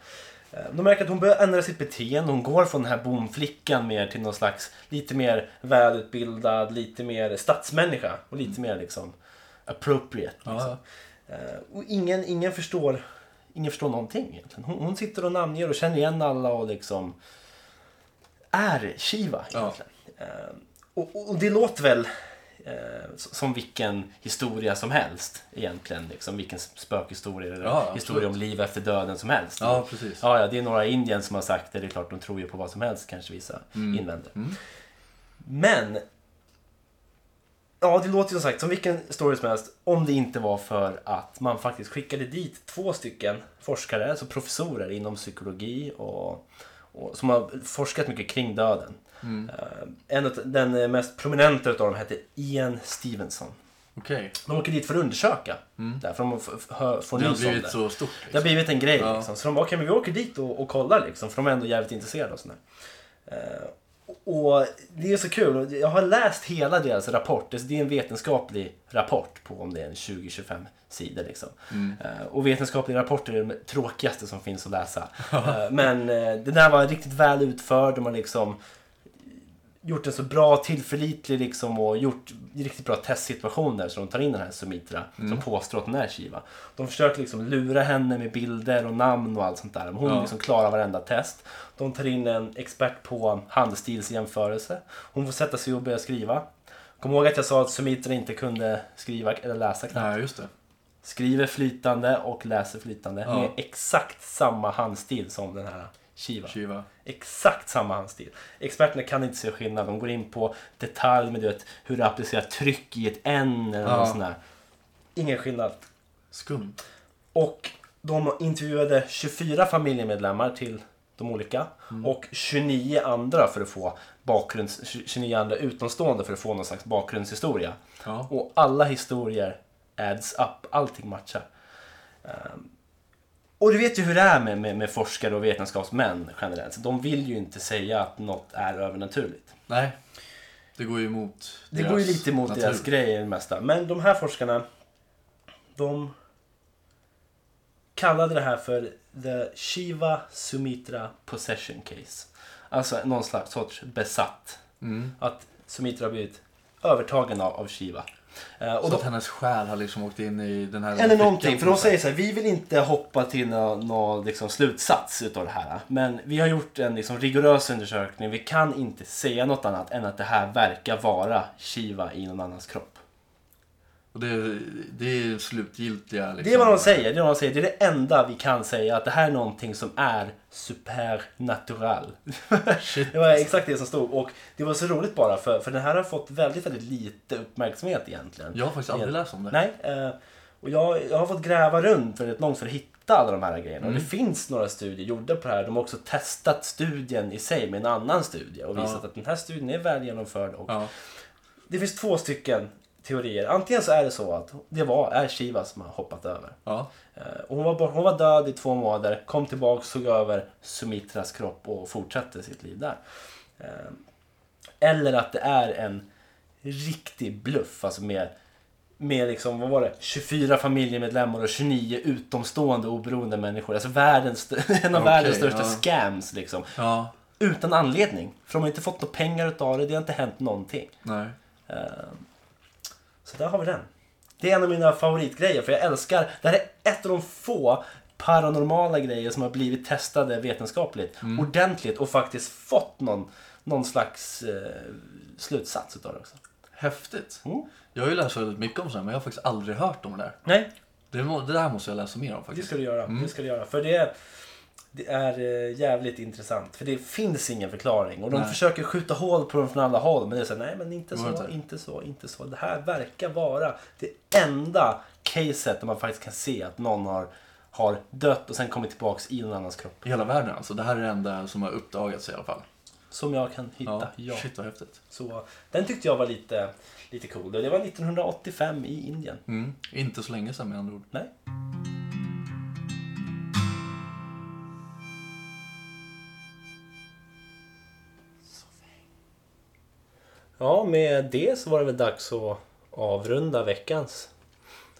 Eh, De märker att hon börjar ändra sitt beteende. Hon går från den här bomflickan mer till någon slags lite mer välutbildad, lite mer stadsmänniska och lite mer liksom appropriate.
Mm. Ja,
Liksom.
ja.
Eh, Och ingen, ingen, förstår, ingen förstår någonting egentligen. Hon, hon sitter och namnger och känner igen alla och liksom är Shiva egentligen. Eh, Och, och, och det låter väl eh, s- som vilken historia som helst egentligen. Liksom, vilken spökhistoria eller
Ja, absolut.
historia om liv efter döden som helst.
Ja, precis.
Mm. Ja, ja, det är några indien som har sagt det. Det är klart, de tror ju på vad som helst kanske vissa
Mm.
invänder. Men... Ja, det låter ju som sagt som vilken story som helst om det inte var för att man faktiskt skickade dit två stycken forskare, alltså professorer inom psykologi och, och som har forskat mycket kring döden.
Mm.
Eh, En av den mest prominenta utav dem hette Ian Stevenson.
Okej.
De åker dit för att undersöka. Därför de f- f- hör- får
Mm. Det har
nys om
blivit
det.
så stort.
Det har
Liksom.
blivit en grej
Ja.
liksom. Så de bara, okej men vi åker dit och, och kollar liksom. För de är ändå jävligt intresserade och sådär. Eh, och det är så kul. Och Jag har läst hela deras rapport. Det det är en vetenskaplig rapport på om det är en 20-25 sidor liksom. Eh, och vetenskapliga rapporter är de tråkigaste som finns att läsa. Eh, men eh, den där var riktigt väl utförd. De har liksom gjort en så bra, tillförlitlig liksom och gjort riktigt bra testsituationer så de tar in den här Sumitra
Mm.
som påstår att hon är Shiva. De försöker liksom lura henne med bilder och namn och allt sånt där. Men hon
Ja.
liksom klarar varenda test. De tar in en expert på handstilsjämförelse. Hon får sätta sig och börja skriva. Kom ihåg att jag sa att Sumitra inte kunde skriva eller läsa knappt.
Nej, just det.
Skriver flytande och läser flytande
Ja.
med exakt samma handstil som den här Shiva.
Shiva.
Exakt samma handstil. Experterna kan inte se skillnad. De går in på detalj med du vet, hur du applicerar tryck i ett N eller
Ja.
något sånt där. Ingen skillnad.
Skumt.
Och de intervjuade 24 familjemedlemmar till de olika och 29 andra för att få bakgrunds... 29 andra utomstående för att få någon slags bakgrundshistoria.
Ja.
Och alla historier adds up, allting matchar. Ehm, och du vet ju hur det är med, med, med forskare och vetenskapsmän generellt. De vill ju inte säga att något är övernaturligt.
Nej. Det går ju emot
Det går ju lite emot
natur.
deras grejer det mesta. Men de här forskarna, de kallade det här för The Shiva Sumitra Possession Case. Alltså någon slags sorts besatt.
Mm.
Att Sumitra har blivit övertagen av, av Shiva. Eh, och
Så
de-
att hennes själ har liksom åkt in i den här
Eller
flickan
någonting, för de
på
säger så här, vi vill inte hoppa till någon, någon liksom slutsats utav det här. Men vi har gjort en liksom rigorös undersökning, vi kan inte säga något annat än att det här verkar vara Shiva i någon annans kropp.
Och det, det är den slutgiltiga... Liksom,
Det är vad de säger. Det är, vad de säger. det är det enda vi kan säga. Att det här är någonting som är supernatural.
Shit.
Det var exakt det som stod. Och det var så roligt bara. För, för den här har fått väldigt, väldigt lite uppmärksamhet egentligen.
Jag har faktiskt aldrig läst om det.
Nej. eh, Och jag, jag har fått gräva runt väldigt långt för att hitta alla de här grejerna.
Mm.
Och det finns några studier gjorda på det här. De har också testat studien i sig med en annan studie. Och visat
Ja.
att den här studien är väl genomförd. Och
Ja.
Det finns två stycken teorier. Antingen så är det så att det var är Shiva som har hoppat över.
ja.
Eh, Och hon, var, bort- hon var död i två månader, kom tillbaka, såg över Sumitras kropp och fortsatte sitt liv där. Eh, Eller att det är en riktig bluff, alltså med, med liksom, vad var det, 24 familjemedlemmar och 29 utomstående oberoende människor. Alltså världens, en av
Okej,
världens största
ja.
scams liksom.
Ja.
Utan anledning, för de har inte fått några pengar utav det, det har inte hänt någonting.
Nej.
Så där har vi den. Det är en av mina favoritgrejer för jag älskar, det här är ett av de få paranormala grejer som har blivit testade vetenskapligt, ordentligt och faktiskt fått någon, någon slags eh, slutsats utav det också.
Häftigt.
Mm.
Jag har ju läst väldigt mycket om sånt här, men jag har faktiskt aldrig hört om det där.
Nej,
Det, må, det där måste jag läsa mer om
det
faktiskt.
ska du göra. Det ska du göra. För det, det är eh, jävligt intressant. För det finns ingen förklaring. Och de
Nej.
försöker skjuta hål på dem från alla håll. Men det är så här, nej men inte
Det
så,
går
inte.
inte.
så, inte så. Det här verkar vara det enda caset där man faktiskt kan se att någon har, har dött och sen kommit tillbaks i någon annans kropp.
I hela världen alltså. Det här är det enda som har uppdagats i alla fall.
Som jag kan
Ja.
hitta. Ja.
Shit vad häftigt.
Så den tyckte jag var lite, lite cool. Det var 1985 i Indien.
Mm. Inte så länge sedan med andra ord.
Nej. Ja, med det så var det väl dags att avrunda veckans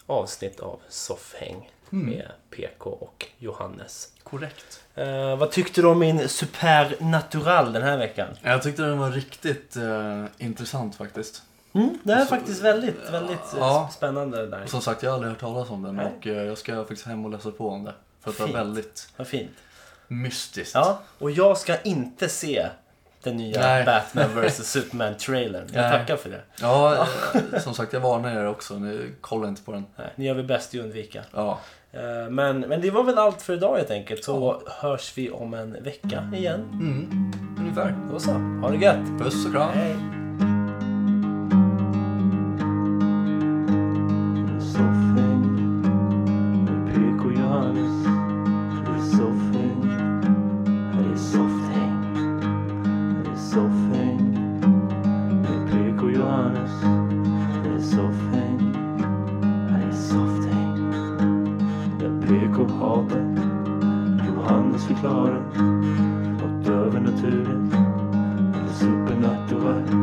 avsnitt av Soffhäng
Mm.
med PK och Johannes.
Korrekt.
Eh, vad tyckte du om min supernatural den här veckan?
Jag tyckte den var riktigt eh, intressant faktiskt.
Mm, det här är
Så-
faktiskt väldigt, väldigt eh,
Ja.
spännande. det Där.
Och som sagt, jag har aldrig hört talas om den
Nej.
och eh, jag ska faktiskt hem och läsa på om det. För att det var
Fint.
väldigt
Vad fint.
mystiskt.
Ja, och jag ska inte se den nya
Nej.
Batman vs Superman-trailern. Jag
Nej.
tackar för det.
Ja, eh, som sagt, jag varnar er också. Nu, kolla inte på den.
Nej, ni gör vi bäst i att undvika.
Ja,
Eh, Men, men det var väl allt för idag helt enkelt. Så hörs vi om en vecka igen.
mm. ungefär.
Då så, ha det gött!
Puss och kram.
Hej!
Soffhäng med PK Johannes. Här är soffhäng. Här är softhäng. Här är soffhäng med PK Johannes. Här är soffhäng. Här är softhäng. Där PK hatar. Johannes förklarar. Något över naturen. Eller supernatural.